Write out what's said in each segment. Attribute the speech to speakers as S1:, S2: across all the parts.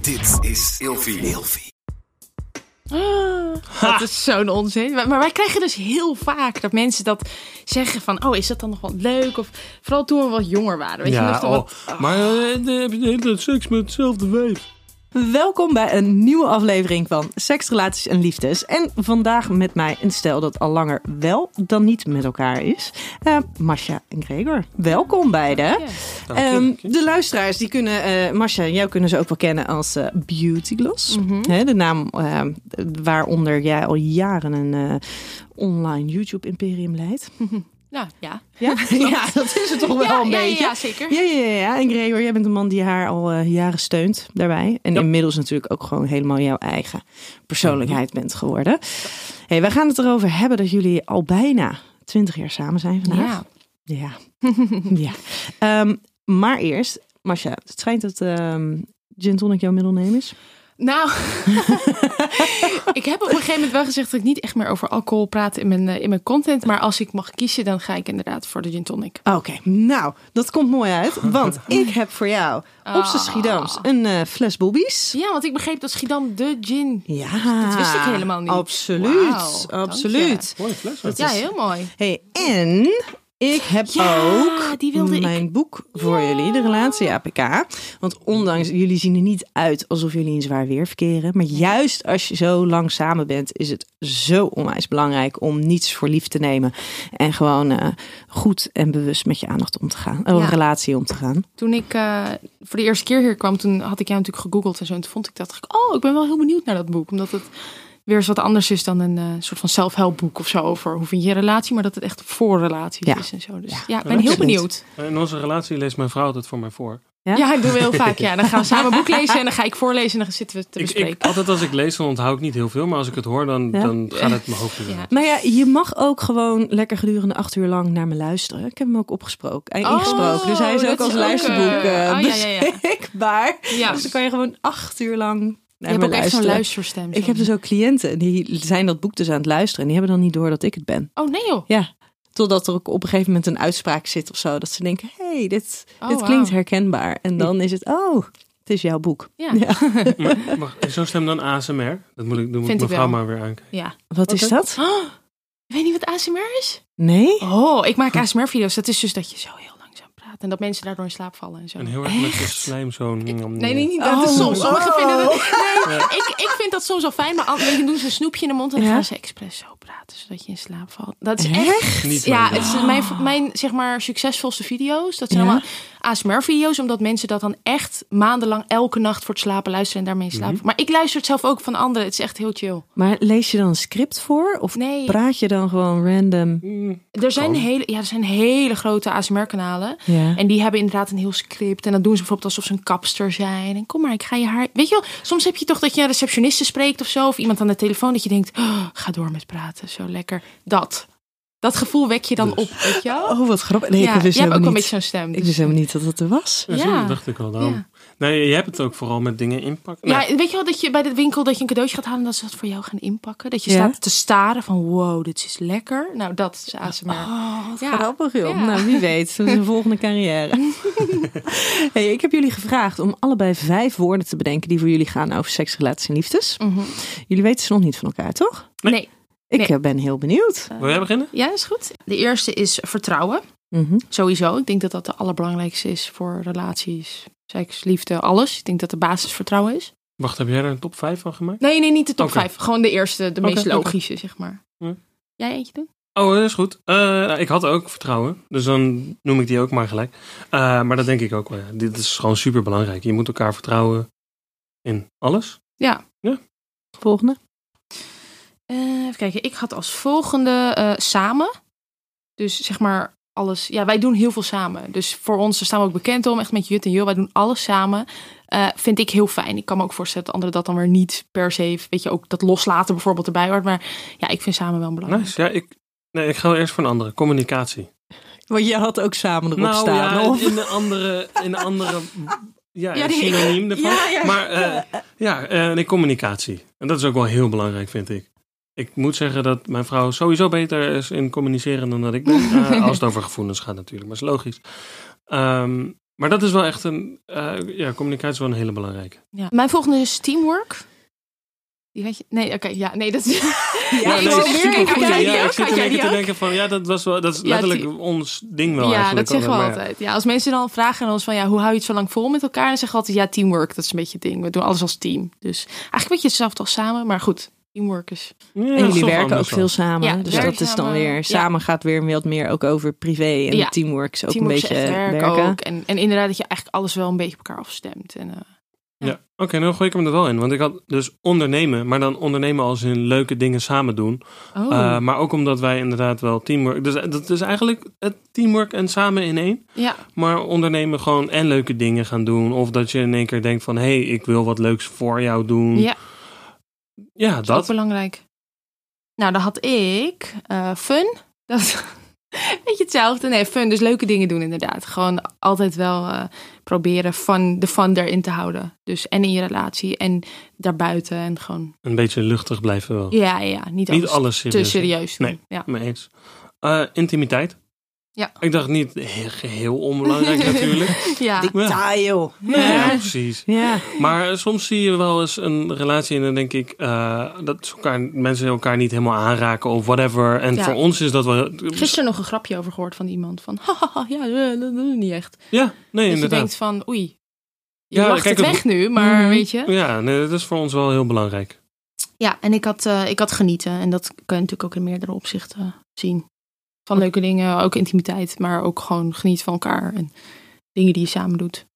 S1: Dit is Ilfie.
S2: Dat is zo'n onzin. Maar, maar wij krijgen dus heel vaak dat mensen dat zeggen van... oh, is dat dan nog wel leuk? Of vooral toen we wat jonger waren. Weet je, nog dan wat-
S3: oh,
S4: oh,
S3: maar eh, heb je de hele tijd seks met hetzelfde wijf?
S4: Welkom bij een nieuwe aflevering van Seks, Relaties en Liefdes. En vandaag met mij een stel dat al langer wel dan niet met elkaar is. Eh Masha en Gregor. Welkom beiden.
S2: Eh,
S4: Ehm, de luisteraars die kunnen, eh Masha en jou kunnen ze ook wel kennen als eh, Beauty Gloss.
S2: Mhm.
S4: Hè, de naam eh, waaronder jij al jaren een eh, online YouTube-imperium leidt.
S2: Nou, ja.
S4: Ja? ja, dat is het toch wel
S2: ja,
S4: een
S2: ja,
S4: beetje.
S2: ja, zeker.
S4: Ja, ja, ja, ja. En Gregor, jij bent een man die haar al eh, jaren steunt daarbij. En inmiddels natuurlijk ook gewoon helemaal jouw eigen persoonlijkheid bent geworden. hey, wij gaan het erover hebben dat jullie al bijna twintig jaar samen zijn vandaag. Ja. Ja. Ehm, maar eerst, Masha, het schijnt dat ehm gin tonic jouw middelneem is.
S2: Nou, ik heb op een gegeven moment wel gezegd... dat ik niet echt meer over alcohol praat in mijn, eh, in mijn content. Maar als ik mag kiezen, dan ga ik inderdaad voor de gin tonic.
S4: Oké, nou, dat komt mooi uit. Want ik heb voor jou op
S2: Ah.
S4: z'n Schiedams een eh, fles bobbies.
S2: Ja, want ik begreep dat Schiedam de gin...
S4: Ja,
S2: Dat wist ik helemaal niet.
S4: Absoluut,
S2: Wauw, dank
S4: absoluut.
S3: Mooi fles.
S2: Ja, heel mooi.
S4: Hey, en ik heb
S2: Ja,
S4: ook
S2: die wilde ik.
S4: mijn boek voor jullie, de relatie APK. Want ondanks jullie zien er niet uit alsof jullie in zwaar weer verkeren, maar juist als je zo lang samen bent, is het zo onwijs belangrijk om niets voor lief te nemen en gewoon eh, goed en bewust met je aandacht om te gaan, eh,
S2: Ja.
S4: relatie om te gaan.
S2: Toen ik eh, voor de eerste keer hier kwam, toen had ik jou natuurlijk gegoogeld en zo. En toen vond ik dat, dacht ik, oh, ik ben wel heel benieuwd naar dat boek. Omdat het weer eens wat anders is dan een eh, soort van zelfhelpboek of zo over hoe vind je een relatie. Maar dat het echt voor relaties
S4: Ja.
S2: is en zo. Dus ja,
S4: Ja,
S2: ik ben heel
S4: absoluut.
S2: benieuwd.
S3: Eh, In onze relatie leest mijn vrouw het voor mij voor.
S4: Ja?
S2: Ja, ik doe heel vaak. Ja, dan gaan we samen een boek lezen en dan ga ik voorlezen en dan zitten we te
S3: Ik,
S2: bespreken.
S3: ik, altijd als ik lees, dan onthoud ik niet heel veel. Maar als ik het hoor, dan,
S4: Ja.
S3: dan gaat het mijn hoofd in.
S2: Ja.
S4: Nou ja, je mag ook gewoon lekker gedurende acht uur lang naar me luisteren. Ik heb hem ook opgesproken, eh, ingesproken. Dus hij is
S2: Oh, dat
S4: ook als
S2: is ook,
S4: luisterboek
S2: eh,
S4: eh,
S2: oh, ja, ja, ja.
S4: beschikbaar.
S2: ja.
S4: Dus dan kan je gewoon acht uur lang
S2: Je
S4: naar
S2: hebt
S4: me
S2: ook echt zo'n
S4: luisteren.
S2: luisterstem.
S4: ik heb dus ook cliënten die zijn dat boek dus aan het luisteren. En die hebben dan niet door dat ik het ben.
S2: Oh nee joh.
S4: Ja, totdat er ook op een gegeven moment een uitspraak zit of zo. Dat ze denken, hé, hey, dit,
S2: Oh,
S4: dit
S2: wauw.
S4: klinkt herkenbaar. En dan is het, oh, het is jouw boek.
S2: Ja.
S3: Maar, mag- is zo'n stem dan ASMR? Dat moet ik, dat
S2: Vind
S3: moet
S2: ik
S3: mijn vrouw
S2: wel.
S3: maar weer aankijken.
S2: Ja.
S4: Wat is
S3: Oké.
S4: dat?
S2: Oh, weet je niet wat ASMR is?
S4: Nee?
S2: Oh, ik maak ASMR-video's. Dat is dus dat je zo heel langzaam praat en dat mensen daardoor in slaap vallen en zo.
S3: En heel erg met je slijm zo...
S2: Nee, nee, niet dat.
S4: Oh.
S2: is soms. Sommigen
S4: Oh.
S2: vinden dat. Nee, ik, ik vind dat soms wel fijn, maar anderen doen ze een snoepje in de mond en dan
S4: Ja?
S2: gaan ze expres zo praten, zodat je in slaap valt. Dat is echt.
S4: Echt?
S3: Niet
S2: Ja,
S3: mijn-
S2: het is mijn, mijn zeg maar succesvolste video's. Dat zijn
S4: Ja?
S2: allemaal ASMR-video's, omdat mensen dat dan echt maandenlang elke nacht voor het slapen luisteren en daarmee
S3: Mhm.
S2: slapen. Maar ik luister het zelf ook van anderen. Het is echt heel chill.
S4: Maar lees je dan een script voor? Of
S2: Nee.
S4: praat je dan gewoon random?
S2: Er zijn hele, ja, er zijn hele grote ASMR-kanalen.
S4: Ja.
S2: En die hebben inderdaad een heel script. En dan doen ze bijvoorbeeld alsof ze een kapster zijn. En kom maar, ik ga je haar. Weet je wel, soms heb je toch dat je een receptioniste spreekt of zo. Of iemand aan de telefoon dat je denkt: "Oh, ga door met praten, zo lekker. Dat. Dat gevoel wek je dan op, weet je wel?
S4: Oh, wat grappig. Nee,
S2: ja,
S4: ik wist
S2: je hebt ook
S4: helemaal
S2: wel een
S4: niet.
S2: beetje zo'n stem.
S4: Ik wist helemaal niet dat dat er was.
S3: Ja, zo
S2: Ja.
S3: dacht ik al dan.
S2: Ja.
S3: Nee, je hebt het ook vooral met dingen inpakken.
S2: Ja,
S3: Nou,
S2: weet je wel dat je bij de winkel dat je een cadeautje gaat halen en dat ze dat voor jou gaan inpakken? Dat je
S4: Ja.
S2: staat te staren van wow, dit is lekker. Nou, dat is ASMR.
S4: Oh.
S2: Ja.
S4: Grappig joh.
S2: oh, Ja.
S4: Nou, wie weet. Dat is een volgende carrière. hey, ik heb jullie gevraagd om allebei vijf woorden te bedenken die voor jullie gaan over seks, relaties en liefdes.
S2: Mhm.
S4: Jullie weten ze nog niet van elkaar, toch?
S3: Nee.
S2: Nee.
S4: Ik
S2: Nee.
S4: eh, ben heel benieuwd.
S3: Wil jij beginnen?
S2: Ja, is goed. De eerste is vertrouwen.
S4: Mhm.
S2: Sowieso. Ik denk dat dat de allerbelangrijkste is voor relaties, seks, liefde, alles. Ik denk dat de basis vertrouwen is.
S3: Wacht, heb jij er een top 5 van gemaakt?
S2: Nee, nee, niet de top
S3: Oké.
S2: 5. Gewoon de eerste, de
S3: Oké,
S2: meest
S3: oké. Hm.
S2: logische, zeg maar.
S3: Ja.
S2: Jij eentje doen?
S3: Oh, dat is goed. Eh, nou, ik had ook vertrouwen, dus dan noem ik die ook maar gelijk. Eh, maar dat denk ik ook wel. Ja. Dit is gewoon super belangrijk. Je moet elkaar vertrouwen in alles.
S4: Volgende.
S2: Eh, even kijken. Ik had als volgende eh, samen. Dus zeg maar alles. Ja, wij doen heel veel samen. Dus voor ons, daar staan we ook bekend om. Echt met Jut en Jul. Wij doen alles samen. Eh, vind ik heel fijn. Ik kan me ook voorstellen dat anderen dat dan weer niet per se... Weet je, ook dat loslaten bijvoorbeeld erbij hoort. Maar ja, ik vind samen wel belangrijk.
S3: Nice. Ja, ik, nee, ik ga wel eerst voor een andere. Communicatie.
S4: Want je had ook samen erop
S3: nou
S4: staan.
S3: ja,
S4: of?
S3: in de andere, in de andere ja,
S2: Ja,
S3: het
S2: die-
S3: synoniem ervan.
S2: Ja, ja.
S3: Maar eh, ja, eh, nee, communicatie. En dat is ook wel heel belangrijk, vind ik. Ik moet zeggen dat mijn vrouw sowieso beter is in communiceren dan dat ik ben. Eh, als het over gevoelens gaat natuurlijk, maar is logisch. Ehm, Maar dat is wel echt een... eh, ja, communicatie is wel een hele belangrijke.
S2: Ja. Mijn volgende is teamwork. Die had je... Nee, oké. ja, nee, dat is... Ja,
S3: Nou,
S4: ik
S2: nee,
S4: zat
S2: dat is
S4: weer
S2: supergoed.
S4: even te
S2: Ja,
S4: kijken.
S2: ja.
S3: ik
S2: Had
S3: zit een
S2: jij
S3: beetje
S2: die
S3: te
S2: ook?
S3: denken van... Ja, dat, was wel, dat is
S2: Ja,
S3: letterlijk
S2: die-
S3: ons ding wel
S2: ja,
S3: eigenlijk.
S2: dat zeggen we
S3: maar ja.
S2: altijd. Ja, als mensen dan vragen aan ons van ja, hoe hou je het zo lang vol met elkaar? Dan zeggen we altijd ja, teamwork. Dat is een beetje het ding. We doen alles als team. Dus eigenlijk een beetje hetzelfde als samen. Maar goed, teamwork is...
S3: Ja, dat is
S4: En jullie
S3: toch
S4: werken ook
S3: anders
S4: veel
S3: wel.
S4: samen.
S2: Ja,
S4: dus
S2: werken
S4: dat is dan
S2: samen.
S4: weer.
S2: Ja.
S4: Samen gaat weer wat meer ook over privé. En
S2: Ja.
S4: de teamwork is ook
S2: teamwork
S4: een
S2: is
S4: beetje
S2: echt werk
S4: werken.
S2: ook. En, en inderdaad dat je eigenlijk alles wel een beetje op elkaar afstemt. En, eh,
S3: Ja, oké, nou gooi ik hem er wel in. Want ik had dus ondernemen, maar dan ondernemen als in leuke dingen samen doen.
S2: oh,
S3: Eh, maar ook omdat wij inderdaad wel teamwork... Dus eh, dat is eigenlijk het teamwork en samen in één.
S2: ja.
S3: Maar ondernemen gewoon en leuke dingen gaan doen. Of dat je in één keer denkt van... hé, hey, ik wil wat leuks voor jou doen.
S2: Ja.
S3: Ja,
S2: Dat is ook
S3: dat.
S2: belangrijk. Nou, dan had ik eh, fun. Dat is een beetje hetzelfde. Nee, fun. Dus leuke dingen doen inderdaad. Gewoon altijd wel eh, proberen fun, de fun erin te houden. Dus en in je relatie en daarbuiten. En gewoon,
S3: Een beetje luchtig blijven wel.
S2: ja, ja. Niet,
S3: Niet
S2: alles
S3: alles
S2: te
S3: serieus.
S2: serieus doen.
S3: Nee.
S2: Ja.
S3: Mee eens. Eh, intimiteit.
S2: Ja.
S3: Ik dacht niet he- geheel onbelangrijk natuurlijk.
S2: ja.
S4: Detail.
S3: Ja, precies.
S4: Ja.
S3: Maar eh, soms zie je wel eens een relatie en dan denk ik eh, dat ze elkaar, mensen elkaar niet helemaal aanraken of whatever. En
S2: Ja.
S3: voor ons is dat wel.
S2: Gisteren nog een grapje over gehoord van iemand. Van, haha, ja, eh, dat doen we niet echt.
S3: Ja, nee,
S2: Dat je
S3: inderdaad.
S2: denkt van, oei. Je
S3: Ja,
S2: lacht
S3: kijk,
S2: het
S3: het-
S2: weg nu, maar
S4: Mhm.
S2: weet je.
S3: Ja, nee, dat is voor ons wel heel belangrijk.
S2: Ja, en ik had, eh, ik had genieten. En dat kan je natuurlijk ook in meerdere opzichten eh, zien. Van leuke dingen, ook intimiteit, maar ook gewoon genieten van elkaar. En dingen die je samen doet.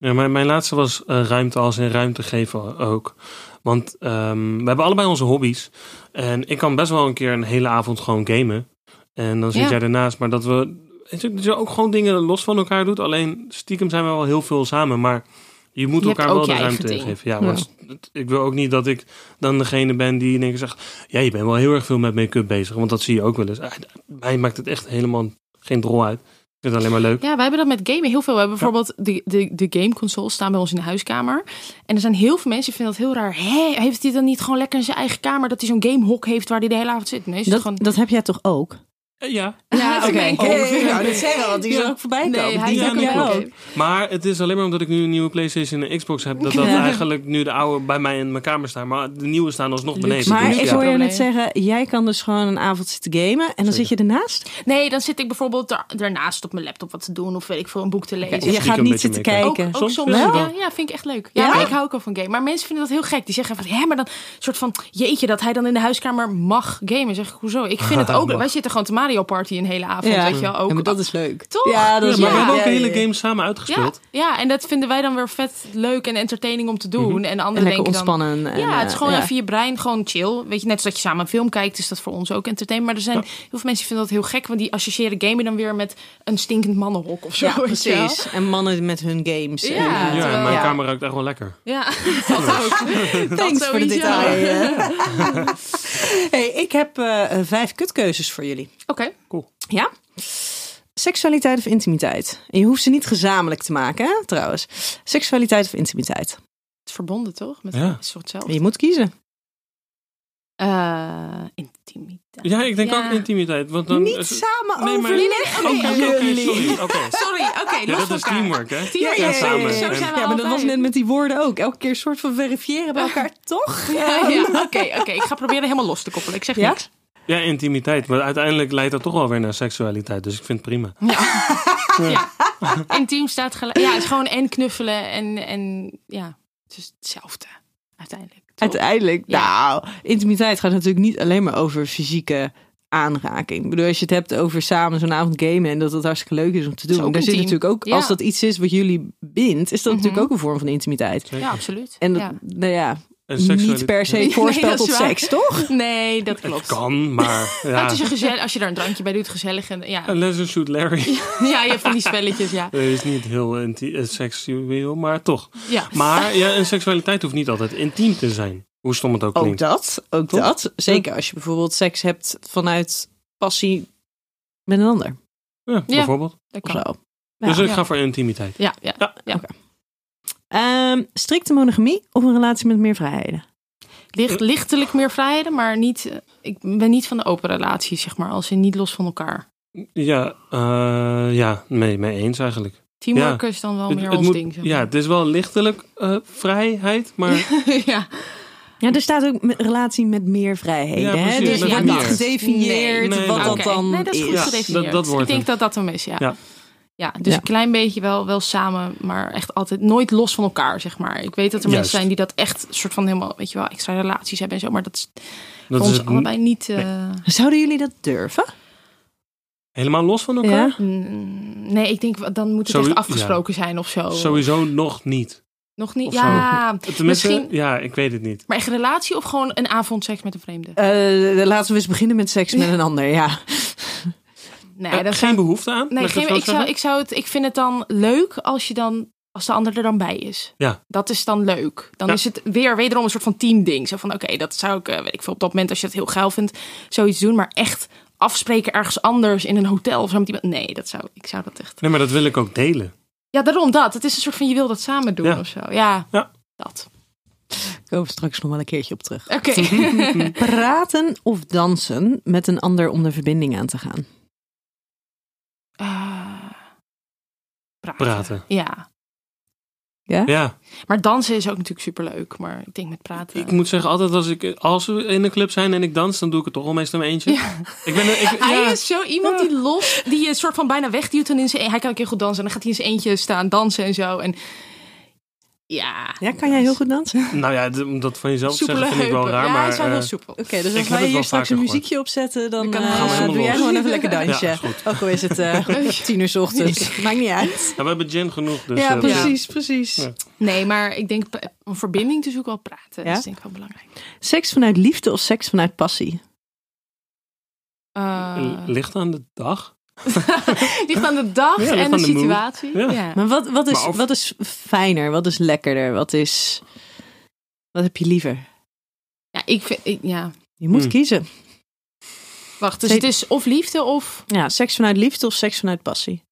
S3: Ja, mijn, mijn laatste was eh, ruimte als in ruimte geven ook. Want ehm, we hebben allebei onze hobby's. En ik kan best wel een keer een hele avond gewoon gamen. En dan zit
S2: Ja.
S3: jij ernaast. Maar dat we. weet je, Dat je ook gewoon dingen los van elkaar doet. Alleen stiekem zijn we wel heel veel samen. Maar je moet
S2: Je hebt
S3: elkaar wel
S2: ook
S3: de
S2: je eigen
S3: ruimte in
S2: ding.
S3: geven. Ja,
S2: Ja.
S3: want het- ik wil ook niet dat ik dan degene ben die in één keer zegt. Ja, je bent wel heel erg veel met make-up bezig. Want dat zie je ook wel eens. Ah, Mij maakt het echt helemaal geen drol uit. Ik vind het alleen maar leuk.
S2: Ja, wij hebben dat met gamen heel veel. We hebben bijvoorbeeld de, de, de gameconsoles staan bij ons in de huiskamer. En er zijn heel veel mensen die vinden dat heel raar. Hé, heeft hij dan niet gewoon lekker in zijn eigen kamer dat hij zo'n gamehok heeft waar hij de hele avond zit? Nee, is het
S4: Dat,
S2: gewoon...
S4: dat heb jij toch ook?
S3: Eh, Ja,
S2: Ja,
S4: oké.
S2: oké.
S4: Ik wou net zeggen, want die is
S3: Ja.
S4: ook voorbij komen.
S2: Nee, hij
S4: die
S2: is
S3: ja,
S2: ook
S4: heb
S3: nee,
S2: een
S4: jij
S3: klopt.
S4: ook.
S2: gamehok.
S3: Maar het is alleen maar omdat ik nu een nieuwe PlayStation en Xbox heb, dat dat
S4: Ja.
S3: eigenlijk nu de oude bij mij in mijn kamer staan. Maar de nieuwe staan alsnog
S2: Luxe.
S3: beneden.
S4: Maar
S3: dus
S2: Ja.
S4: ik
S3: ja.
S4: hoor je net
S2: Probleem.
S4: zeggen, jij kan dus gewoon een avond zitten gamen en dan zit je ernaast.
S2: Nee, dan zit ik bijvoorbeeld daar, daarnaast op mijn laptop wat te doen of weet ik veel, een boek te lezen.
S4: Je gaat
S3: een
S4: niet zitten
S3: beetje meekijken.
S2: Ook,
S4: kijken.
S2: ook
S3: Soms
S2: soms,
S3: wel.
S2: Ja, ja, vind ik echt leuk. Ja,
S4: Ja?
S2: maar ik hou ook al van game. Maar mensen vinden dat heel gek. Die zeggen van, hè, maar dan soort van, jeetje, dat hij dan in de huiskamer mag gamen. Zeg ik, hoezo? Ik vind het ook.
S3: Mag.
S2: Wij zitten gewoon te Mario Party een hele avond,
S4: Ja.
S2: weet je wel. Ook.
S4: Ja, maar dat is leuk.
S2: Toch?
S4: Ja, dat
S3: Ja,
S4: is
S3: maar we
S2: Ja.
S3: hebben ook
S4: Ja,
S3: een hele
S4: ja, ja.
S3: game samen
S2: ja,
S3: uitgespeeld.
S2: ja, en dat vinden wij dan weer vet leuk en entertaining om te doen. En
S4: Mhm. En
S2: anderen denken
S4: lekker
S2: dan...
S4: ontspannen. en,
S2: Ja, het is
S4: eh,
S2: gewoon
S4: ja.
S2: even je brein, gewoon chill. Weet je, net zoals je samen een film kijkt, is dat voor ons ook entertainment. Maar er zijn heel veel mensen die vinden dat heel gek, want die associëren gamen dan weer met een stinkend mannenhok of zo.
S4: Ja,
S2: weet je wel.
S4: precies. En mannen met hun games. eh,
S2: Ja.
S3: Ja,
S4: En,
S2: Ja,
S3: en mijn
S2: ja.
S3: kamer ruikt echt wel lekker.
S2: Ja, dat ook.
S4: Thanks
S2: Dat
S4: voor
S2: sowieso.
S4: de detail. hey, ik heb eh, eh, vijf kutkeuzes voor jullie.
S2: Oké.
S4: Ja? Seksualiteit of intimiteit? En je hoeft ze niet gezamenlijk te maken, hè, trouwens. Seksualiteit of intimiteit?
S2: Het is verbonden toch? Met
S3: Ja.
S2: een soort zelf.
S4: Je moet kiezen.
S2: Eh, intimiteit.
S3: Ja, ik denk
S2: Ja.
S3: ook intimiteit. Want dan eh,
S4: niet samen
S3: Nee, maar-
S4: overleggen.
S3: Oké, oké, oké,
S4: jullie.
S3: sorry. Oké.
S2: Sorry, oké,
S3: Ja,
S2: los
S3: dat
S2: van
S3: is
S2: elkaar.
S3: teamwork, hè?
S2: Teamwork,
S3: Ja,
S2: ja,
S3: samen.
S2: samen.
S3: En-
S2: Zo zijn we
S4: Ja, maar dat was
S2: altijd.
S4: net met die woorden ook. Elke keer een soort van verifiëren bij elkaar, toch?
S2: Ja, ja, Oké, oké, ik ga proberen helemaal los te koppelen. Ik zeg
S4: Ja?
S2: niks.
S3: Ja, intimiteit. Maar uiteindelijk leidt dat toch wel weer naar seksualiteit. Dus ik vind het prima.
S2: Ja. Intiem staat gelijk. Ja, het is gewoon en knuffelen en, en ja, het is hetzelfde uiteindelijk. toch?
S4: Uiteindelijk,
S2: Ja.
S4: nou, intimiteit gaat natuurlijk niet alleen maar over fysieke aanraking. Ik bedoel, als je het hebt over samen zo'n avond gamen en dat het hartstikke leuk is om te doen.
S2: ook
S4: Daar zit
S2: intiem.
S4: natuurlijk ook,
S2: Ja.
S4: als dat iets is wat jullie bindt, is dat natuurlijk ook een vorm van intimiteit.
S2: Ja, absoluut.
S4: En dat,
S2: Ja.
S4: nou ja,
S3: En
S4: niet per se
S2: Nee,
S4: voorspelt
S2: dat is
S4: tot
S2: waar.
S4: seks, toch?
S2: Nee, dat klopt.
S3: Kan, maar...
S2: Maar
S3: Ja.
S2: het is een gezellig, als je daar een drankje bij doet, gezellig. En, ja.
S3: Unless you shoot Larry.
S2: ja, je hebt van die spelletjes, ja.
S3: Dat is niet heel inti- eh, seksueel, maar toch.
S2: ja. Oh,
S3: Maar ja, en seksualiteit hoeft niet altijd intiem te zijn. Hoe stom het ook
S4: Ook
S3: klinkt.
S4: dat, ook
S3: Toch?
S4: dat. Zeker als je bijvoorbeeld seks hebt vanuit passie met een ander
S3: Ja, bijvoorbeeld.
S2: Dat
S4: of
S2: kan.
S4: zo.
S3: dus
S4: Ja.
S3: ik
S2: Ja.
S3: ga voor intimiteit.
S2: Ja, ja.
S4: Ehm, strikte monogamie of een relatie met meer vrijheden?
S2: Licht,
S3: Eh.
S2: lichtelijk meer vrijheden, maar niet, eh, ik ben niet van de open relatie, zeg maar. Als in niet los van elkaar.
S3: Ja, eh, ja, nee, mee eens eigenlijk.
S2: Teamwork is dan wel
S3: Het-
S2: meer
S3: het
S2: ons
S3: moet-
S2: ding. zeg
S3: ja,
S2: maar.
S3: het is wel lichtelijk eh, vrijheid, maar
S2: ja.
S4: Ja, er staat ook met relatie met meer vrijheden.
S3: Ja,
S4: hè?
S3: precies,
S4: Dus er
S2: met
S4: wordt
S2: meer.
S4: niet gedefinieerd
S3: Nee, nee,
S4: wat
S3: nee.
S4: dat
S2: Oké,
S4: dan
S2: nee, dat is goed
S3: Ja,
S2: gedefinieerd.
S3: dat- dat wordt
S2: ik denk
S3: het.
S2: dat dat hem is, ja.
S3: Ja.
S2: Ja, dus
S4: Ja.
S2: een klein beetje wel, wel samen, maar echt altijd nooit los van elkaar, zeg maar. Ik weet dat er
S3: Juist.
S2: mensen zijn die dat echt soort van helemaal, weet je wel, extra relaties hebben en zo, maar dat is
S3: dat
S2: voor
S3: is
S2: ons
S3: het n-
S2: allebei niet... eh,
S4: Zouden jullie dat durven?
S3: helemaal los van elkaar.
S4: Ja.
S2: mm, nee, ik denk, dan moet het
S3: Sowieso-
S2: echt afgesproken zijn of zo.
S3: Sowieso nog niet.
S2: Nog niet,
S3: Of
S2: ja.
S3: Tenminste,
S2: Misschien-
S3: ja, ik weet het niet.
S2: Maar echt een relatie of gewoon een avond seks met een vreemde?
S4: Eh, laten we eens beginnen met seks met een ander. Ja.
S2: Nee,
S3: Eh,
S2: dat
S3: geen behoefte aan?
S2: Nee,
S3: Mag ik
S2: geen,
S3: dat
S2: ik,
S3: zo
S2: zou,
S3: zeggen?
S2: ik, zou het, ik vind het dan leuk als, je dan, als de ander er dan bij is.
S3: Ja.
S2: Dat is dan leuk. Dan
S3: Ja.
S2: is het weer wederom een soort van teamding. Zo van, oké, dat zou ik, eh, weet ik veel, op dat moment als je het heel geil vindt, zoiets doen. Maar echt afspreken ergens anders in een hotel of zo met iemand. Nee, dat zou, ik zou dat echt...
S3: Nee, maar dat wil ik ook delen.
S2: Ja, daarom dat. Het is een soort van, je wil dat samen doen
S3: Ja.
S2: of zo. Ja,
S3: Ja.
S2: dat.
S4: Komen we straks nog wel een keertje op terug.
S2: Oké. Eh,
S4: Praten of dansen met een ander om de verbinding aan te gaan.
S2: Eh, praten.
S3: Praten.
S2: Ja.
S3: Ja,
S2: Maar dansen is ook natuurlijk superleuk. Maar ik denk met praten...
S3: ik moet zeggen, altijd als, ik, als we in een club zijn en ik dans, dan doe ik het toch al meestal in mijn eentje.
S2: Ja.
S3: Ik ben, er- ik,
S2: Hij
S3: ja,
S2: is zo iemand die los, die je soort van bijna wegduwt en in zijn. e- Hij kan ook heel goed dansen en dan gaat hij in zijn eentje staan dansen en zo. En ja.
S4: Ja, kan jij heel goed dansen? Oké,
S3: nou ja, d- om dat van jezelf te zeggen
S2: Soepele
S3: vind ik wel
S2: heupen.
S3: raar.
S2: ja, hij
S3: maar,
S2: is wel heel
S3: eh,
S2: soepel.
S4: dus
S3: heb
S4: als
S3: het
S4: wij
S3: wel
S4: hier straks
S3: vaker
S4: een
S3: gehoord.
S4: muziekje opzetten,
S2: Dan
S4: dan
S2: kan- Gaan we
S4: eh,
S3: helemaal
S4: doe jij
S3: los.
S4: gewoon even lekker dansje.
S3: ja, is goed.
S4: Ook al is het eh tien uur 's ochtends. Maakt niet uit.
S3: Ja, we hebben gin genoeg, dus
S4: Ja,
S3: eh,
S4: precies, precies.
S3: Ja.
S2: Nee, maar ik denk p- om verbinding te zoeken wel praten.
S4: Ja?
S2: Dat is denk ik wel belangrijk.
S4: Seks vanuit liefde of seks vanuit passie?
S2: Eh,
S3: ligt aan de dag.
S2: ligt aan de dag
S3: Ja, ligt
S2: en
S3: aan
S2: de,
S3: de mood.
S2: situatie.
S3: Ja.
S2: Ja.
S4: Maar wat, wat, is,
S3: Maar of-
S4: wat is fijner? Wat is lekkerder? Wat is... Wat heb je liever?
S2: Ja, ik vind, ik- ja.
S4: Je moet
S3: Hmm.
S4: kiezen.
S2: Wacht, dus
S4: Zet-
S2: het is of liefde of
S4: Ja, seks vanuit liefde of seks vanuit passie?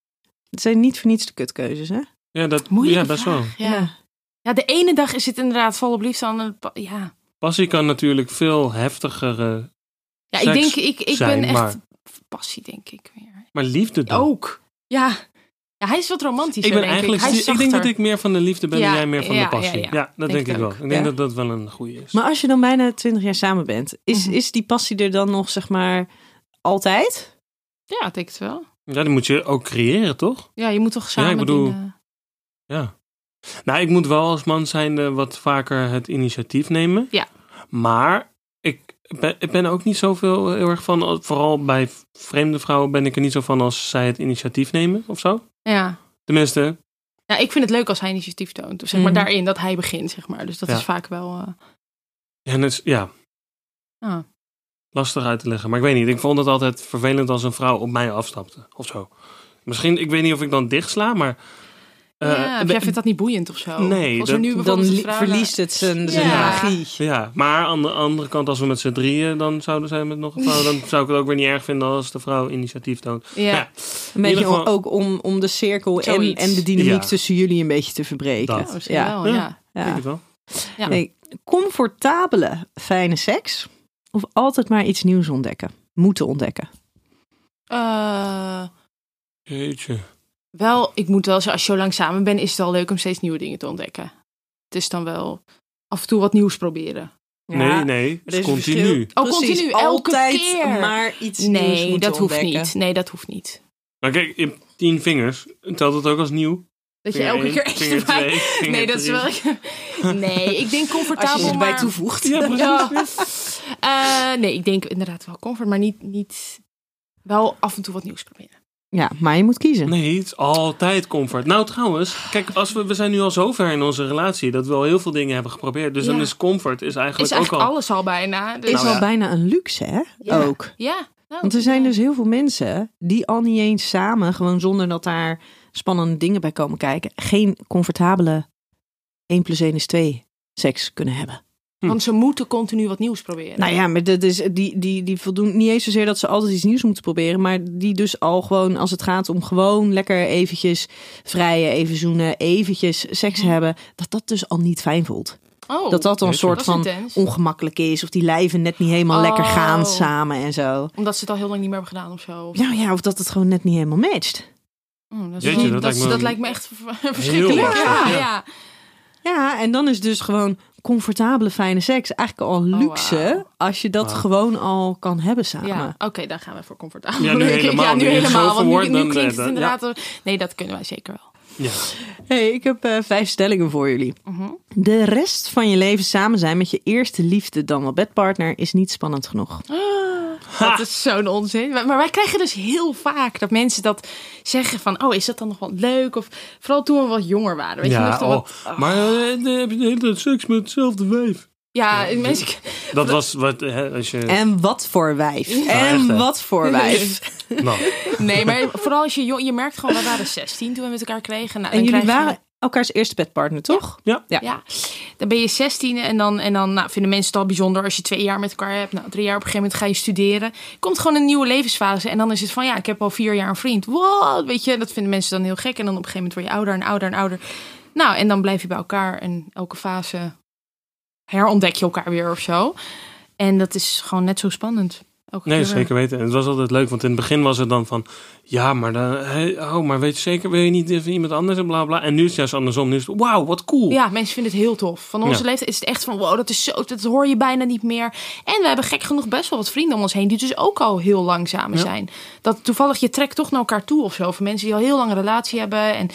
S4: Het zijn niet voor niets de kutkeuzes, hè?
S3: Ja, dat,
S2: moeilijk.
S3: ja best wel.
S2: Ja. Ja. de ene dag is het inderdaad vol op liefde. Aan de, pa- ja.
S3: Passie kan natuurlijk veel heftigere
S2: ja, ik denk,
S3: Seks
S2: ik, ik
S3: zijn,
S2: ben echt
S3: maar,
S2: passie, denk ik weer.
S3: maar liefde dan.
S2: Ook. Ja. ja, hij is wat romantisch.
S3: ik ben
S2: denk
S3: eigenlijk,
S2: Ik. Hij is
S3: ik denk dat
S2: zachter.
S3: ik meer van de liefde ben
S2: Ja,
S3: en jij meer van
S2: ja,
S3: de passie.
S2: ja,
S3: Ja,
S2: ja.
S3: dat denk,
S2: Denk
S3: ik
S2: het
S3: wel.
S2: ook.
S3: Ik denk
S4: Ja.
S3: dat dat wel een goede is.
S4: Maar als je dan bijna twintig jaar samen bent, is,
S2: Mhm.
S4: is die passie er dan nog, zeg maar, altijd?
S2: Ja, ik denk het wel.
S3: ja, die moet je ook creëren, toch?
S2: Ja, je moet toch samen
S3: ik bedoel-
S2: dingen-
S3: Ja. Nou, ik moet wel als man zijnde wat vaker het initiatief nemen.
S2: Ja.
S3: Maar ik ben, ik ben ook niet zoveel eh, heel erg van, vooral bij vreemde vrouwen ben ik er niet zo van als zij het initiatief nemen of zo.
S2: Ja.
S3: Tenminste,
S2: ja, ik vind het leuk als hij initiatief toont. Dus zeg maar
S4: Mhm.
S2: daarin dat hij begint, zeg maar. Dus dat
S3: Ja.
S2: is vaak wel... eh,
S3: ja, dat is- ja,
S2: ah.
S3: lastig uit te leggen. Maar ik weet niet, ik vond het altijd vervelend als een vrouw op mij afstapte of zo. Misschien, ik weet niet of ik dan dicht sla, maar... eh,
S2: ja, of
S3: de-
S2: jij vindt dat niet boeiend of zo?
S3: Nee,
S2: Als er
S3: dat-
S2: nu
S4: Dan
S2: bijvoorbeeld
S4: li-
S2: een vrouw-
S4: verliest het zijn, zijn
S2: Ja.
S4: magie.
S3: Ja, maar aan de andere kant, als we met z'n drieën dan zouden zijn met nog een vrouw, dan zou ik het ook weer niet erg vinden als de vrouw initiatief toont.
S2: Ja.
S3: Ja.
S4: Een
S3: ieder
S4: beetje
S3: geval-
S4: ook om, om de cirkel en,
S2: Zoiets.
S4: en de dynamiek
S3: Ja.
S4: tussen jullie een beetje te verbreken.
S2: Ja,
S3: Dat.
S2: misschien
S4: Ja,
S2: wel, ja.
S3: Ja. Denk
S4: ja.
S3: het wel.
S2: Ja.
S4: Nee, comfortabele, fijne seks of altijd maar iets nieuws ontdekken? Moeten ontdekken.
S2: Eh,
S3: Jeetje.
S2: wel, ik moet wel zeggen, als je zo lang samen bent, is het wel leuk om steeds nieuwe dingen te ontdekken. Het is dan wel af en toe wat nieuws proberen.
S3: Nee, nee.
S4: Er is
S3: Het
S4: een verschil.
S3: continu.
S2: Oh,
S4: Precies,
S2: continu, elke
S4: altijd
S2: keer.
S4: maar iets nieuws
S2: Nee,
S4: moeten
S2: dat hoeft
S4: ontdekken.
S2: niet. Nee, dat hoeft niet.
S3: Maar kijk, je hebt tien vingers. Telt dat ook als nieuw?
S2: Dat je
S3: Vinger
S2: elke
S3: één,
S2: keer eentje
S3: vinger
S2: erbij-
S3: twee, vinger
S2: Nee, dat is wel. Nee, ik denk comfortabel.
S4: Als je erbij
S2: maar...
S4: toevoegt.
S3: Ja, precies.
S2: Ja. Eh, nee, ik denk inderdaad wel comfort, maar niet, niet wel af en toe wat nieuws proberen.
S4: Ja, maar je moet kiezen.
S3: Nee, het is altijd comfort. Nou, trouwens, kijk, als we, we zijn nu al zo ver in onze relatie dat we al heel veel dingen hebben geprobeerd. Dus
S2: Ja.
S3: dan is comfort is eigenlijk,
S2: Is eigenlijk
S3: ook al.
S2: alles al bijna. Dus...
S4: is
S3: Nou
S4: al
S3: ja.
S4: bijna een luxe, hè?
S2: Ja.
S4: Ook.
S2: Ja. nou,
S4: Want er zijn
S2: ja.
S4: dus heel veel mensen die al niet eens samen, gewoon zonder dat daar spannende dingen bij komen kijken, geen comfortabele 1 plus 1 is 2 seks kunnen hebben.
S3: Hm.
S2: Want ze moeten continu wat nieuws proberen.
S4: Nou ja, maar dat is, die, die, die voldoen niet eens zozeer dat ze altijd iets nieuws moeten proberen, maar die dus al gewoon, als het gaat om gewoon lekker eventjes vrijen, even zoenen, eventjes seks hebben, dat dat dus al niet fijn voelt.
S2: Hm. oh,
S4: dat dat dan een
S3: jeetje.
S4: soort
S2: dat is
S4: van
S2: intens.
S4: ongemakkelijk is of die lijven net niet helemaal lekker
S2: Oh.
S4: gaan samen en zo.
S2: Omdat ze het al heel lang niet meer hebben gedaan of zo.
S4: Nou ja, of dat het gewoon net niet helemaal matcht.
S2: Oh, dat, is
S3: Jeetje,
S2: wel- dat,
S3: dat lijkt me-
S2: is- dat lijkt me echt v- verschrikkelijk.
S4: erg,
S2: Ja,
S3: ja.
S2: ja.
S4: Ja, en dan is dus gewoon comfortabele, fijne seks eigenlijk al
S2: Oh, wauw.
S4: luxe. Als je dat
S3: Wauw.
S4: gewoon al kan hebben samen.
S2: Ja, Oké, daar gaan we voor comfortabel.
S3: Ja, nu helemaal.
S2: Ja,
S3: Nu
S2: nu
S3: je het zo
S2: helemaal. Want
S3: verwoordt,
S2: nu, nu
S3: dan, eh,
S2: klinkt
S3: dan-
S2: het inderdaad... Nee, dat kunnen wij zeker wel.
S3: Ja.
S4: Hey, ik heb eh, vijf stellingen voor jullie.
S2: Mhm.
S4: De rest van je leven samen zijn met je eerste liefde dan wel bedpartner is niet spannend genoeg.
S2: Oh. Dat is zo'n onzin. Maar maar wij krijgen dus heel vaak dat mensen dat zeggen van... oh, is dat dan nog wel leuk? Of vooral toen we wat jonger waren. Weet je,
S3: ja,
S2: nog toen
S3: oh,
S2: wat-
S3: Maar eh, dan heb je de hele tijd seks met hetzelfde wijf.
S2: ja, mensen...
S3: Dat was wat hè, als je.
S4: En wat voor wijf.
S3: echt, hè?
S4: en wat voor wijf.
S3: Nou,
S2: Nee, maar vooral als je jong... Je merkt gewoon, wij waren 16 toen we met elkaar kregen. Nou,
S4: En
S2: dan
S4: jullie
S2: krijg je-
S4: waren elkaars eerste bedpartner, toch?
S2: Ja, dan ben je 16 en dan, en dan nou, vinden mensen het al bijzonder als je twee jaar met elkaar hebt. Nou, drie jaar op een gegeven moment ga je studeren. Komt gewoon een nieuwe levensfase en dan is het van ja, ik heb al vier jaar een vriend. Wow, weet je, dat vinden mensen dan heel gek. En dan op een gegeven moment word je ouder en ouder en ouder. Nou, en dan blijf je bij elkaar en elke fase herontdek je elkaar weer of zo. En dat is gewoon net zo spannend. Elke
S3: nee,
S2: keer weer.
S3: zeker weten. En het was altijd leuk, want in het begin was het dan van. Ja, maar, dan, hè, oh, maar weet je zeker, wil je niet even iemand anders en bla bla. En nu is het juist andersom. Nu is het, wauw, wat cool.
S2: Ja, mensen vinden het heel tof. Van onze
S3: Ja.
S2: leeftijd is het echt van wow, dat is zo, dat hoor je bijna niet meer. En we hebben gek genoeg best wel wat vrienden om ons heen die dus ook al heel lang samen
S3: Ja.
S2: zijn. Dat toevallig je trekt toch naar elkaar toe of zo. Van mensen die al heel lang een relatie hebben en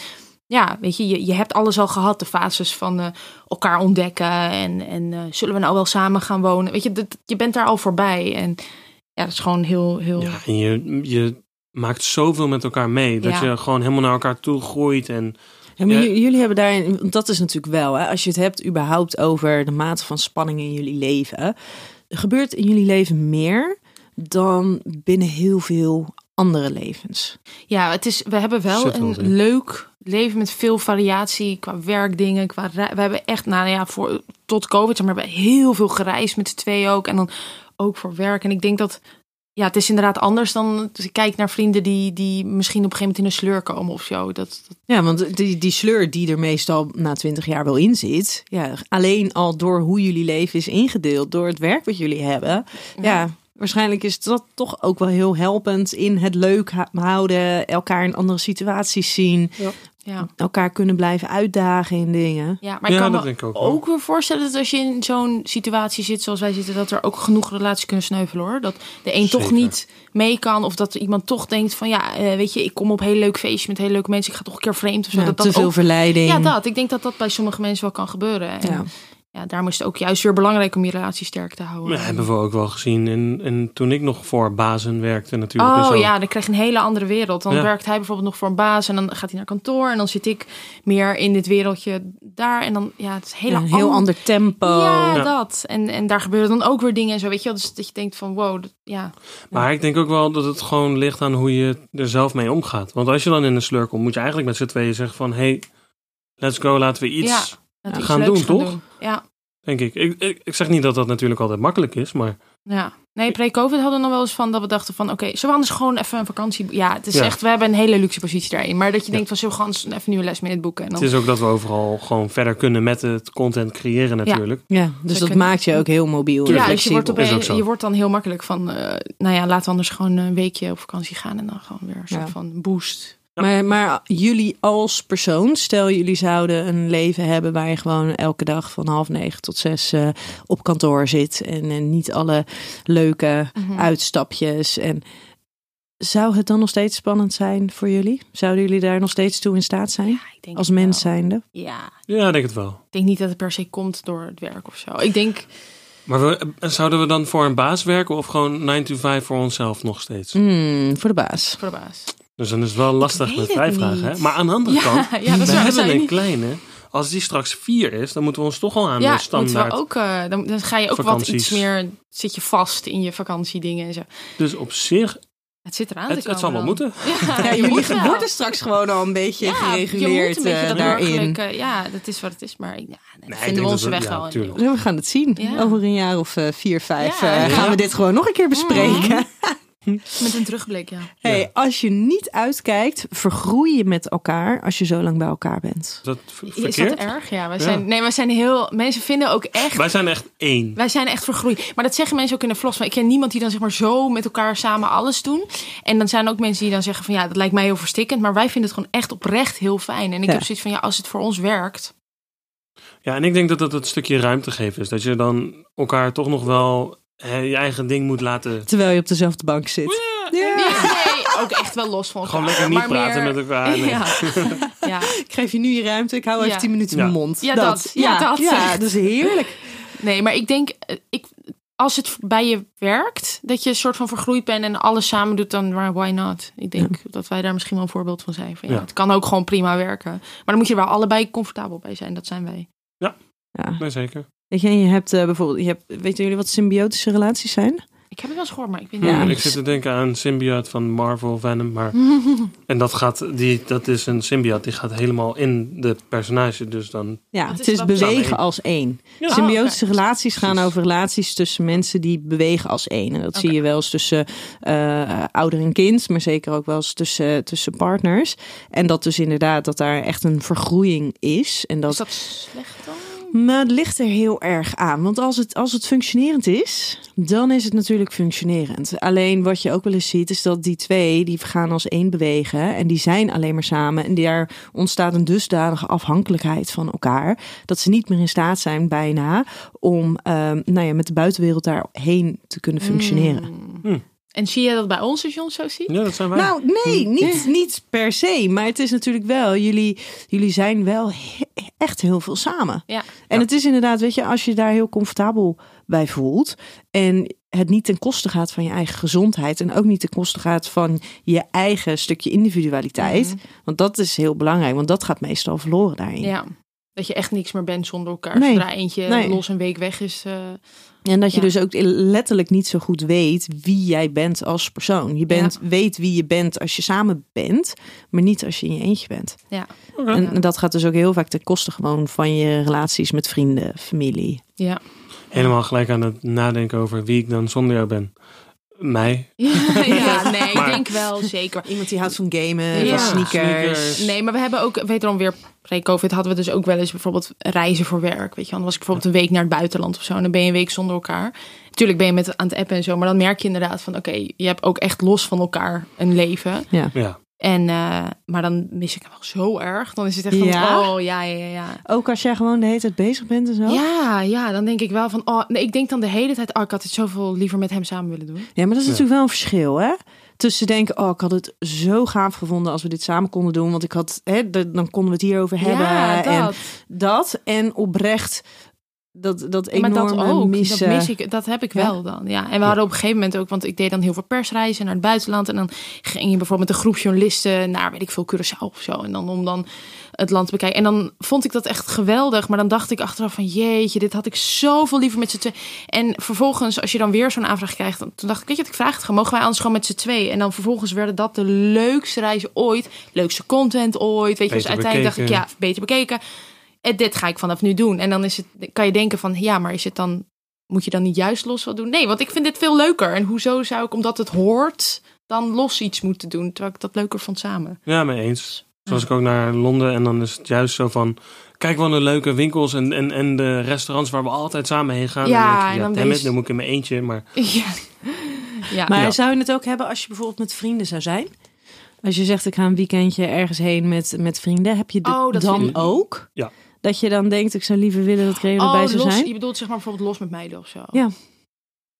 S2: ja, weet je, je, je hebt alles al gehad. De fases van eh, elkaar ontdekken en, en eh, zullen we nou wel samen gaan wonen? Weet je, dat, je bent daar al voorbij en ja, dat is gewoon heel, heel.
S3: Ja, en je, je maakt zoveel met elkaar mee. Dat
S2: Ja.
S3: je gewoon helemaal naar elkaar toe groeit. En
S4: Ja, maar
S3: Ja.
S4: j- jullie hebben daarin, want dat is natuurlijk wel, hè, als je het hebt überhaupt over de mate van spanning in jullie leven, er gebeurt in jullie leven meer dan binnen heel veel andere levens.
S2: Ja, het is, we hebben wel
S3: Zit wel
S2: een
S3: in.
S2: leuk leven met veel variatie qua werkdingen. Qua re- we hebben echt, nou ja, voor, tot COVID zeg maar, hebben we heel veel gereisd met z'n twee ook. En dan ook voor werk. En ik denk dat, ja, het is inderdaad anders dan, dus ik kijk naar vrienden die, die misschien op een gegeven moment in een sleur komen of zo. Dat, dat-
S4: Ja, want die, die sleur die er meestal na twintig jaar wel in zit, ja, alleen al door hoe jullie leven is ingedeeld, door het werk wat jullie hebben, ja. Waarschijnlijk is dat toch ook wel heel helpend in het leuk ha- houden, elkaar in andere situaties zien,
S2: ja.
S4: elkaar kunnen blijven uitdagen in dingen.
S2: Ja, maar ik
S3: Ja,
S2: kan
S3: dat
S2: me
S3: denk ik ook, hoor.
S2: ook weer voorstellen dat als je in zo'n situatie zit zoals wij zitten, dat er ook genoeg relaties kunnen sneuvelen hoor. Dat de een toch
S3: Zeker.
S2: niet mee kan of dat iemand toch denkt van ja, eh, weet je, ik kom op een heel leuk feestje met hele leuke mensen, ik ga toch een keer vreemd of zo.
S4: Ja,
S2: dat dat
S4: te veel
S2: ook-
S4: verleiding.
S2: ja, dat. Ik denk dat dat bij sommige mensen wel kan gebeuren. En
S4: Ja.
S2: ja. daarom is het ook juist weer belangrijk om je relatie sterk te houden.
S3: dat hebben we ook wel gezien. En, en toen ik nog voor bazen werkte natuurlijk. en
S2: Oh
S3: zo.
S2: ja, dan krijg je een hele andere wereld. Dan
S3: Ja.
S2: werkt hij bijvoorbeeld nog voor een baas en dan gaat hij naar kantoor. En dan zit ik meer in dit wereldje daar. En dan, ja, het is een hele
S4: Ja, een heel
S2: ander-
S4: ander tempo.
S2: Ja,
S3: Ja.
S2: dat. En, en daar gebeuren dan ook weer dingen en zo, weet je wel. Dus dat je denkt van, wow, dat- ja.
S3: Maar ik denk ook wel dat het gewoon ligt aan hoe je er zelf mee omgaat. Want als je dan in een sleur komt, moet je eigenlijk met z'n tweeën zeggen van... hey, let's go, laten we iets,
S2: dat
S4: Ja.
S2: iets
S3: Gaan
S2: leuks
S3: doen, toch?
S2: Ja,
S3: denk ik. ik. Ik ik zeg niet dat dat natuurlijk altijd makkelijk is, maar...
S2: ja. Nee, pre-covid hadden we nog wel eens van dat we dachten van... oké, zullen we anders gewoon even een vakantie... Ja, het is
S3: Ja.
S2: echt... We hebben een hele luxe positie daarin. Maar dat je
S3: Ja.
S2: denkt van, zullen we gewoon eens even nu een les in het boeken? En dan,
S3: Het is ook dat we overal gewoon verder kunnen met het content creëren natuurlijk.
S4: Ja, dus dat
S2: kunnen-
S4: maakt je ook heel mobiel. en
S2: ja, dus je
S4: flexibel.
S2: wordt,
S3: Is ook
S2: opeens,
S3: zo.
S2: je wordt dan heel makkelijk van... eh, nou ja, laten we anders gewoon een weekje op vakantie gaan... en dan gewoon weer een soort
S4: Ja.
S2: van boost.
S4: maar, maar jullie als persoon, stel jullie zouden een leven hebben waar je gewoon elke dag van half negen tot zes eh, op kantoor zit en, en niet alle leuke
S2: Mm.
S4: uitstapjes. En zou het dan nog steeds spannend zijn voor jullie? Zouden jullie daar nog steeds toe in staat zijn?
S2: Ja, ik denk
S4: Als
S2: het wel.
S4: mens zijnde?
S2: Ja,
S3: Ja, ik denk het wel.
S2: ik denk niet dat het per se komt door het werk of zo. Ik denk...
S3: Maar we, eh, zouden we dan voor een baas werken of gewoon 9 to 5 voor onszelf nog
S2: Mm.
S3: steeds?
S4: Hmm, voor de baas.
S2: Voor de baas.
S3: Dus dan is het wel lastig
S2: weet
S3: met
S2: het
S3: vrijvragen.
S2: niet.
S3: Hè? Maar aan de andere
S2: Ja,
S3: kant,
S2: ja, dat is
S3: we
S2: waar,
S3: hebben
S2: zei je
S3: een
S2: niet.
S3: kleine. Als die straks 4 is, dan moeten we ons toch al aan
S2: ja,
S3: de standaard.
S2: moeten we ook, eh, dan, dan ga je ook wat
S3: Vakanties.
S2: iets meer, zit je vast in je vakantiedingen en zo.
S3: Dus op zich,
S2: Het zit eraan
S3: het,
S2: te komen
S3: het zal wel
S2: dan.
S3: moeten.
S2: Ja, je moet wel.
S4: straks gewoon al een beetje eh,
S2: Ja, je moet een beetje dat burgerlijke- ja, dat is wat het is, maar ja, dat
S3: eh, ik denk
S2: vinden we
S3: dat
S2: onze
S3: we-
S2: weg
S3: ja,
S2: wel. in.
S3: tuurlijk.
S4: Ja, we gaan het zien.
S2: Ja.
S4: Over een jaar of eh, vier, vijf
S2: Ja.
S4: eh, gaan we dit gewoon nog een keer bespreken.
S2: Met een terugblik, ja.
S4: Hey,
S3: Ja.
S4: Als je niet uitkijkt, vergroei je met elkaar als je zo lang bij elkaar bent.
S3: Is dat ver-
S2: Is dat
S3: verkeerd?
S2: erg? Ja, wij
S3: Ja.
S2: zijn, nee, wij zijn heel... Mensen vinden ook echt...
S3: Wij zijn echt één.
S2: Wij zijn echt vergroeid. Maar dat zeggen mensen ook in de vlogs. Maar ik ken niemand die dan zeg maar zo met elkaar samen alles doen. En dan zijn er ook mensen die dan zeggen van ja, dat lijkt mij heel verstikkend. Maar wij vinden het gewoon echt oprecht heel fijn. En ik
S4: Ja.
S2: heb zoiets van ja, als het voor ons werkt.
S3: Ja, en ik denk dat dat het stukje ruimte geven is. Dat je dan elkaar toch nog wel hè, je eigen ding moet laten.
S4: Terwijl je op dezelfde bank zit. Ja.
S2: Nee, nee, ook echt wel los van elkaar.
S3: Gewoon lekker niet
S2: maar
S3: praten
S2: meer-
S3: met elkaar. Nee.
S2: Ja. ja.
S4: Ik geef je nu je ruimte. Ik hou
S2: Ja.
S4: even 10 minuten
S3: Ja.
S4: mijn mond.
S2: Ja, dat. Ja, dat.
S4: Ja, dat is heerlijk.
S2: Nee, maar ik denk, eh, ik, als het bij je werkt, dat je een soort van vergroeid bent en alles samen doet, dan why- why not? Ik denk dat wij daar misschien wel een voorbeeld van zijn. Van, ja,
S3: Ja.
S2: Het kan ook gewoon prima werken. Maar dan moet je er wel allebei comfortabel bij zijn. Dat zijn wij.
S4: Ja.
S3: Nee, zeker.
S4: Weet je, en je hebt eh, bijvoorbeeld, je hebt, weten jullie wat symbiotische relaties zijn?
S2: Ik heb het wel eens gehoord, maar ik weet
S3: Hmm,
S2: niet.
S4: Ja.
S3: ik zit te denken aan symbiote van Marvel Venom. Maar, en dat, gaat, die, dat is een symbiote die gaat helemaal in de personage. Dus dan
S4: Ja,
S2: Wat
S4: het
S2: is
S4: is,
S2: dat?
S4: bewegen
S3: Samen.
S4: als één.
S3: Ja.
S4: Symbiotische relaties gaan
S3: Precies.
S4: over relaties tussen mensen die bewegen als één. En dat zie
S2: Oké.
S4: je wel eens tussen eh, ouder en kind, maar zeker ook wel eens tussen, tussen partners. En dat dus inderdaad, dat daar echt een vergroeiing is. En dat,
S2: Is dat slecht dan?
S4: Maar het ligt er heel erg aan. Want als het, als het functionerend is, dan is het natuurlijk functionerend. Alleen wat je ook wel eens ziet, is dat die twee, die gaan als één bewegen. En die zijn alleen maar samen. En daar ontstaat een dusdanige afhankelijkheid van elkaar. Dat ze niet meer in staat zijn bijna om ehm, nou ja, met de buitenwereld daarheen te
S2: Mm.
S4: kunnen functioneren.
S3: Hmm.
S2: En zie je dat bij ons als je ons zo ziet?
S3: Ja, dat zijn wij.
S4: Nou, nee, niet, niet per se. Maar het is natuurlijk wel, jullie, jullie zijn wel he- echt heel veel samen.
S2: Ja.
S4: En het is inderdaad, weet je, als je daar heel comfortabel bij voelt en het niet ten koste gaat van je eigen gezondheid en ook niet ten koste gaat van je eigen stukje individualiteit. Want dat is heel belangrijk, want dat gaat meestal verloren daarin.
S2: Mhm. ja. Dat je echt niks meer bent zonder elkaar.
S4: Nee.
S2: Zodra eentje
S4: Nee.
S2: los een week weg is. eh,
S4: En dat je
S2: Ja.
S4: dus ook letterlijk niet zo goed weet wie jij bent als persoon. Je bent, weet wie je bent als je samen bent, maar niet als je in je eentje bent.
S2: ja.
S3: Oké.
S4: En dat gaat dus ook heel vaak ten koste gewoon van je relaties met vrienden, familie.
S2: Ja.
S3: Helemaal gelijk aan het nadenken over wie ik dan zonder jou ben. Mij.
S2: ja. nee, ik
S3: Maar-
S2: denk wel zeker.
S4: Iemand die houdt van gamen,
S2: Ja.
S4: van
S2: van
S4: sneakers.
S3: sneakers.
S2: Nee, maar we hebben ook, wederom weer pre-COVID, hadden we dus ook wel eens bijvoorbeeld reizen voor werk. Weet je, wel. dan was ik bijvoorbeeld een week naar het buitenland of zo. En dan ben je een week zonder elkaar. Natuurlijk ben je met aan het appen en zo. Maar dan merk je inderdaad van, oké, je hebt ook echt los van elkaar een leven.
S4: Ja.
S3: Ja.
S2: En, eh, maar dan mis ik hem wel zo erg. Dan is het echt van,
S4: Ja?
S2: oh ja, ja, ja, ja.
S4: Ook als jij gewoon de hele tijd bezig bent en zo?
S2: Ja, ja, dan denk ik wel van, oh, nee, ik denk dan de hele tijd, oh, ik had het zoveel liever met hem samen willen doen.
S4: Ja, maar dat is
S3: Ja.
S4: natuurlijk wel een verschil, hè? Tussen denken, oh, ik had het zo gaaf gevonden als we dit samen konden doen. Want ik had, hè, de- dan konden we het hierover hebben.
S2: ja,
S4: En
S2: dat.
S4: dat en oprecht dat, dat
S2: Ja,
S4: enorme
S2: maar dat ook.
S4: missen.
S2: Dat mis ik. Dat heb ik
S4: Ja.
S2: wel dan. Ja. En we hadden op een gegeven moment ook, want ik deed dan heel veel persreizen naar het buitenland. En dan ging je bijvoorbeeld met een groep journalisten naar, weet ik veel, Curaçao of zo. En dan om dan het land te bekijken. En dan vond ik dat echt geweldig. Maar dan dacht ik achteraf van, jeetje, dit had ik zoveel liever met z'n tweeën. En vervolgens, als je dan weer zo'n aanvraag krijgt, dan, toen dacht ik, weet je wat, ik vraag het gewoon. Mogen wij anders gewoon met z'n tweeën? En dan vervolgens werden dat de leukste reizen ooit. Leukste content ooit. Weet je, dus
S3: Beter
S2: uiteindelijk dacht ik,
S3: bekeken.
S2: ja, beter bekeken. En dit ga ik vanaf nu doen. En dan is het, kan je denken van, ja, maar is het dan, moet je dan niet juist los wat doen? Nee, want ik vind dit veel leuker. En hoezo zou ik, omdat het hoort, dan los iets moeten doen? Terwijl ik dat leuker vond samen.
S3: Ja, mee eens. Zo was ik ook naar Londen en dan is het juist zo van... Kijk wel naar de leuke winkels en, en, en de restaurants waar we altijd samen heen gaan.
S2: Ja, en
S3: en dan denk je,
S2: dan
S3: ja,
S2: ben
S3: damn
S2: je-
S3: it, dan moet ik in mijn eentje. Maar
S2: Ja. ja.
S4: Maar
S3: Ja.
S4: zou je het ook hebben als je bijvoorbeeld met vrienden zou zijn? Als je zegt, ik ga een weekendje ergens heen met, met vrienden. Heb je dit
S2: Oh, dat
S4: dan
S2: vind ik-
S4: ook?
S3: Ja.
S4: Dat je dan denkt, ik zou liever willen dat ik er even bij zou
S2: Oh, los, Oh,
S4: zijn?
S2: je bedoelt zeg maar bijvoorbeeld los met meiden of zo?
S4: Ja.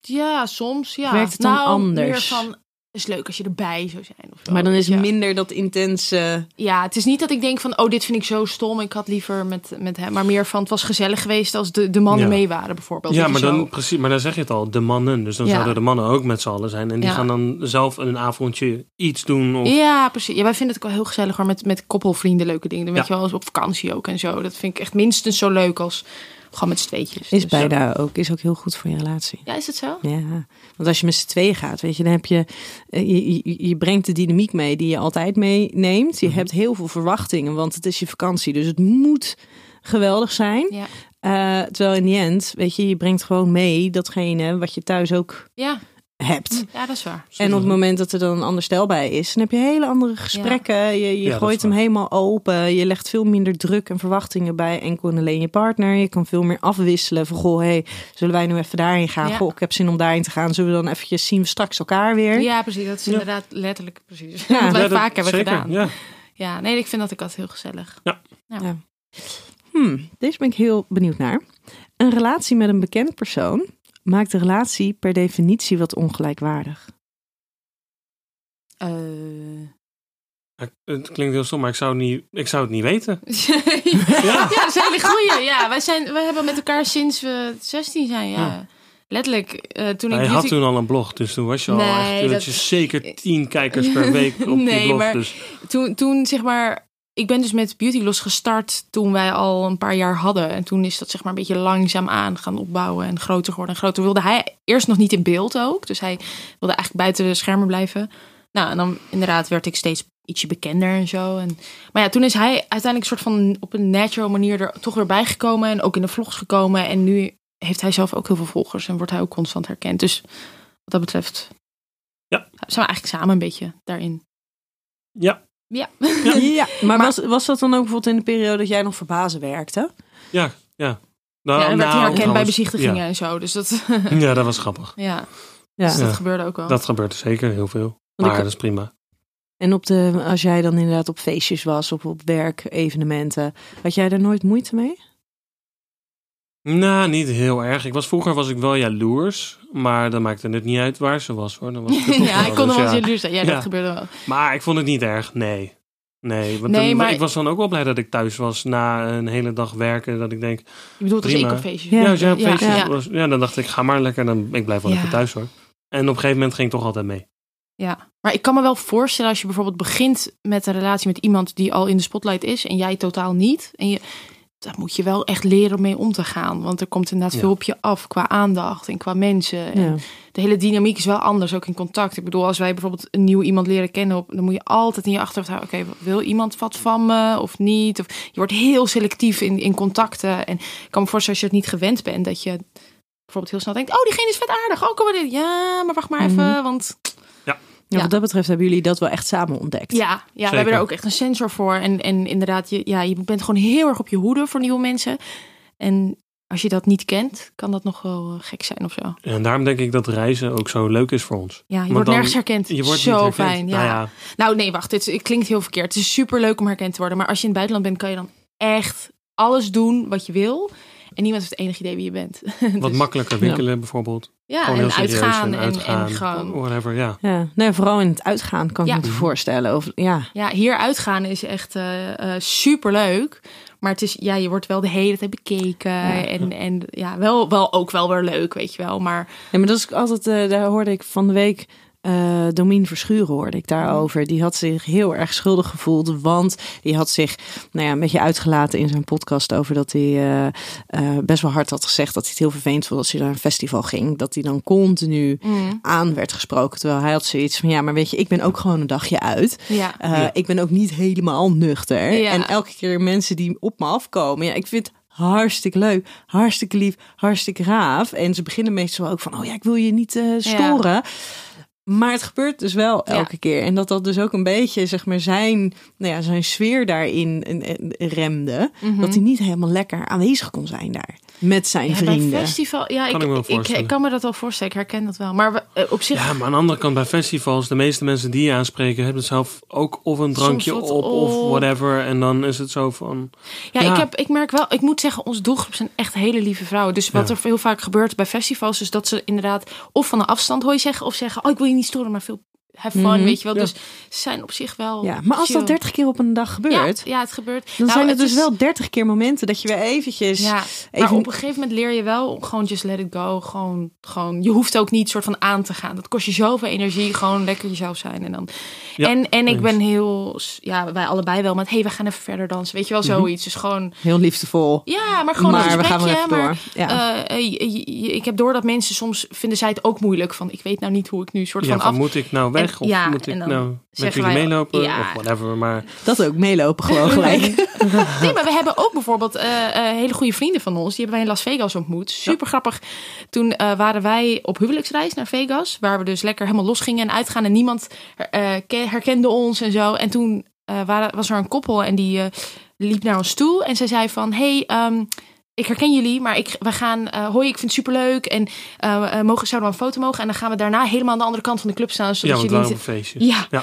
S2: Ja, soms ja.
S4: Werkt het dan
S2: nou,
S4: anders?
S2: meer van, is leuk als je erbij zou zijn of zo.
S4: Maar dan is
S2: ja.
S4: minder dat intense.
S2: Ja, het is niet dat ik denk van, oh, dit vind ik zo stom. Ik had liever met, met hem. Maar meer van, het was gezellig geweest als de, de mannen
S3: Ja.
S2: mee waren bijvoorbeeld.
S3: ja,
S2: Of
S3: maar
S2: zo.
S3: dan, precies, maar dan zeg je het al, de mannen. Dus dan
S2: Ja.
S3: zouden de mannen ook met z'n allen zijn. En die
S2: Ja.
S3: gaan dan zelf een avondje iets doen. Of,
S2: Ja, precies. Ja, wij vinden het ook wel heel gezellig hoor, met, met koppelvrienden leuke dingen. Dan weet
S3: Ja.
S2: je wel, eens op vakantie ook en zo. Dat vind ik echt minstens zo leuk als gewoon met z'n tweetjes.
S4: Is
S2: Dus,
S4: bijna ook. Is ook heel goed voor je relatie.
S2: Ja, is het zo?
S4: Ja, want als je met z'n tweeën gaat, weet je, dan heb je, eh, je, je, je brengt de dynamiek mee die je altijd meeneemt. Je hebt heel veel verwachtingen, want het is je vakantie, dus het moet geweldig zijn.
S2: Ja.
S4: Eh, terwijl in die end, weet je, je brengt gewoon mee datgene wat je thuis ook
S2: Ja,
S4: hebt.
S2: Ja, dat is waar.
S4: En op het moment dat er dan een ander stel bij is, dan heb je hele andere gesprekken. Je, je
S3: Ja, dat
S4: gooit
S3: is
S4: hem
S3: waar.
S4: helemaal open. Je legt veel minder druk en verwachtingen bij enkel en alleen je partner. Je kan veel meer afwisselen van, goh, hey, zullen wij nu even daarheen gaan?
S2: Ja.
S4: Goh, ik heb zin om daarheen te gaan. Zullen we dan eventjes zien we straks elkaar weer?
S2: Ja, precies. Dat is
S3: Ja.
S2: inderdaad letterlijk precies
S4: Ja.
S2: wat wij
S3: Ja, dat-
S2: vaak hebben
S3: zeker,
S2: gedaan. Ja.
S3: Ja.
S2: nee, ik vind dat ik dat heel gezellig.
S4: Hmm, deze ben ik heel benieuwd naar. Een relatie met een bekend persoon maakt de relatie per definitie wat ongelijkwaardig.
S2: Eh,
S3: Ik- Het klinkt heel stom, maar ik zou, niet, ik zou het niet weten.
S2: ja, dat is een hele goeie. Ja, wij, zijn, wij hebben met elkaar sinds we 16 zijn, ja.
S3: Ja.
S2: Letterlijk, eh, toen
S3: Hij
S2: ik
S3: had
S2: beauty...
S3: toen al een blog, dus toen was je al
S2: Nee,
S3: echt... Toen had
S2: dat-
S3: je zeker tien kijkers per week op
S2: Nee,
S3: die blog.
S2: maar-
S3: Dus
S2: Toen, toen, zeg maar... Ik ben dus met Beauty Loss gestart toen wij al een paar jaar hadden. En toen is dat zeg maar een beetje langzaam aan gaan opbouwen en groter geworden en groter. Wilde hij eerst nog niet in beeld ook. Dus hij wilde eigenlijk buiten de schermen blijven. Nou, en dan inderdaad werd ik steeds ietsje bekender en zo. En, maar ja, toen is hij uiteindelijk soort van op een natural manier er toch weer bij gekomen. En ook in de vlogs gekomen. En nu heeft hij zelf ook heel veel volgers en wordt hij ook constant herkend. Dus wat dat betreft
S3: Ja.
S2: zijn we eigenlijk samen een beetje daarin.
S3: ja,
S2: Ja.
S4: Ja, maar,
S2: Maar-
S4: was, was dat dan ook bijvoorbeeld in de periode dat jij nog voor bazen werkte?
S3: ja, ja. Nou,
S2: ja, en werd hij
S3: nou,
S2: herkend bij
S3: trouwens,
S2: bezichtigingen en zo. Dus dat, ja,
S3: Ja. ja, dat was grappig.
S4: Ja.
S2: Dus dat
S3: Ja.
S2: gebeurde ook wel.
S3: Dat gebeurt zeker heel veel.
S4: ik-
S3: Maar dat is prima.
S4: En op de, als jij dan inderdaad op feestjes was of op werk, evenementen, had jij daar nooit moeite mee?
S3: Nou, niet heel erg. Ik was, vroeger was ik wel jaloers, maar dat maakte het niet uit waar ze was hoor. Dan was ik er toch
S2: ja, ik kon
S3: dus
S2: er wel
S3: ja.
S2: jaloers zijn. Ja,
S3: Ja.
S2: dat gebeurde wel.
S3: Maar ik vond het niet erg, nee. Nee, want
S2: Nee,
S3: dan-
S2: maar-
S3: ik was dan ook wel blij dat ik thuis was na een hele dag werken. Dat ik denk,
S2: Je bedoelt als ik
S3: Prima.
S2: op feestjes
S4: Ja.
S3: ja,
S2: ben.
S3: als jij op feestje
S2: ja.
S3: was, ja, dan dacht ik, ga maar lekker, dan, ik blijf wel
S2: Ja.
S3: lekker thuis hoor. En op een gegeven moment ging ik toch altijd mee.
S2: Ja, maar ik kan me wel voorstellen als je bijvoorbeeld begint met een relatie met iemand die al in de spotlight is en jij totaal niet. En je, daar moet je wel echt leren om mee om te gaan. Want er komt inderdaad
S3: Ja.
S2: veel op je af qua aandacht en qua mensen. En
S4: Ja.
S2: de hele dynamiek is wel anders, ook in contact. Ik bedoel, als wij bijvoorbeeld een nieuw iemand leren kennen, op, dan moet je altijd in je achterhoofd houden: oké, wil iemand wat van me of niet? Of, je wordt heel selectief in, in contacten. En ik kan me voorstellen, als je het niet gewend bent, dat je bijvoorbeeld heel snel denkt: oh, diegene is vet aardig. Oh, kom maar dit. Ja, maar wacht maar even,
S4: Mhm.
S2: want.
S4: Ja,
S2: Ja.
S4: Wat dat betreft hebben jullie dat wel echt samen ontdekt.
S2: Ja, ja we
S3: Zeker.
S2: hebben daar ook echt een sensor voor. En, en inderdaad, je, ja, je bent gewoon heel erg op je hoede voor nieuwe mensen. En als je dat niet kent, kan dat nog wel eh, gek zijn of zo. Ja,
S3: En daarom denk ik dat reizen ook zo leuk is voor ons.
S2: je
S3: Want
S2: wordt
S3: dan-
S2: nergens herkend.
S3: Je wordt
S2: Zo
S3: niet herkend.
S2: fijn. Ja.
S3: Nou
S2: Nou, nee, wacht. Dit is- klinkt heel verkeerd. Het is super leuk om herkend te worden. Maar als je in het buitenland bent, kan je dan echt alles doen wat je wil. En niemand heeft enig idee wie je bent.
S3: wat
S2: Dus-
S3: makkelijker winkelen bijvoorbeeld.
S2: Ja,
S3: Gewoon heel
S2: en
S3: serieus
S2: uitgaan, En,
S3: en uitgaan. Oh,
S2: en gewoon
S3: Whatever, ja.
S4: Ja. Nee, vooral in het uitgaan kan
S2: Ja.
S4: ik me voorstellen. Of, ja.
S2: Ja, hier uitgaan is echt eh super leuk. Maar het is, ja, je wordt wel de hele tijd bekeken. En, en ja, wel, wel ook wel weer leuk, weet je wel. Maar
S4: Ja, maar dat is ook altijd, eh, daar hoorde ik van de week. eh Domien Verschuren hoorde ik daarover. Die had zich heel erg schuldig gevoeld. Want die had zich nou ja, een beetje uitgelaten in zijn podcast over dat hij eh, eh, best wel hard had gezegd dat hij het heel vervelend vond als hij naar een festival ging. Dat hij dan continu aan werd gesproken. Terwijl hij had zoiets van ja, maar weet je, ik ben ook gewoon een dagje uit.
S2: ja,
S4: Eh, Ik ben ook niet helemaal nuchter.
S2: Ja.
S4: En elke keer mensen die op me afkomen. Ja, ik vind het hartstikke leuk, hartstikke lief, hartstikke gaaf. En ze beginnen meestal ook van, oh ja, ik wil je niet eh, storen. Maar het gebeurt dus wel
S2: Ja.
S4: elke keer. En dat dat dus ook een beetje, zeg maar, zijn, nou ja, zijn sfeer daarin en- en- remde.
S2: Mhm.
S4: Dat hij niet helemaal lekker aanwezig kon zijn daar. Met zijn
S2: ja, bij
S4: vrienden.
S2: festival. Ja,
S3: Kan
S2: ik,
S3: ik me wel
S2: ik, ik,
S3: voorstellen.
S2: kan me dat wel voorstellen. Ik herken dat wel. Maar we- eh, op zich.
S3: Ja, maar aan de andere kant bij festivals, de meeste mensen die je aanspreken hebben zelf ook of een drankje
S2: wat
S3: op of
S2: op.
S3: whatever. En dan is het zo van,
S2: Ja,
S3: Ja.
S2: Ik, heb, ik merk wel, ik moet zeggen, onze doelgroep zijn echt hele lieve vrouwen. Dus wat
S3: Ja.
S2: er heel vaak gebeurt bij festivals, is dat ze inderdaad of van een afstand hoor je zeggen, of zeggen: Oh, ik wil je niet storen, maar veel have fun,
S4: Mhm.
S2: weet je wel.
S3: Ja.
S2: Dus ze zijn op zich wel.
S4: Ja, maar als
S2: chill.
S4: dat 30 keer op een dag gebeurt,
S2: Ja, ja, het gebeurt.
S4: dan
S2: Nou,
S4: zijn het
S2: het
S4: dus
S2: is-
S4: wel 30 keer momenten dat je weer eventjes...
S2: Ja, maar
S4: even-
S2: op een gegeven moment leer je wel gewoon just let it go. Gewoon, gewoon, je hoeft ook niet soort van aan te gaan. Dat kost je zoveel energie. Gewoon lekker jezelf zijn. En, dan,
S3: Ja,
S2: en, en ik
S3: eens.
S2: ben heel, ja, wij allebei wel met, hey, we gaan even verder dansen. Weet je wel, zoiets. Dus gewoon,
S4: heel liefdevol.
S2: ja, maar gewoon
S4: Mhm. maar
S2: een
S4: we gaan
S2: gesprekje.
S4: wel even
S2: maar,
S4: door. Ja.
S2: eh, eh, je- je- ik heb door dat mensen soms vinden zij het ook moeilijk. Van, ik weet nou niet hoe ik nu soort
S3: ja,
S2: van af...
S3: van moet ik nou weg weg?
S2: En-
S3: of
S2: ja,
S3: moet ik
S2: en dan
S3: nou met
S2: zeggen
S3: jullie
S2: wij-
S3: meelopen?
S2: ja.
S3: Of whatever. Maar
S4: Dat ook meelopen gewoon gelijk.
S2: Nee, maar we hebben ook bijvoorbeeld eh, eh, hele goede vrienden van ons. Die hebben wij in Las Vegas ontmoet. Super grappig. Toen eh, waren wij op huwelijksreis naar Vegas. Waar we dus lekker helemaal los gingen en uitgaan. En niemand eh, ke- herkende ons en zo. En toen eh, waren, was er een koppel en die eh, liep naar ons toe. En zij zei van, hey, ehm, ik herken jullie, maar ik, we gaan, eh, hoi, ik vind het superleuk. En eh, eh, mogen, zouden we een foto mogen? En dan gaan we daarna helemaal aan de andere kant van de club staan.
S3: ja,
S2: Zodat
S3: want het
S2: jullie
S3: waren
S2: niet...
S3: op feestjes.
S2: Ja,
S3: Ja.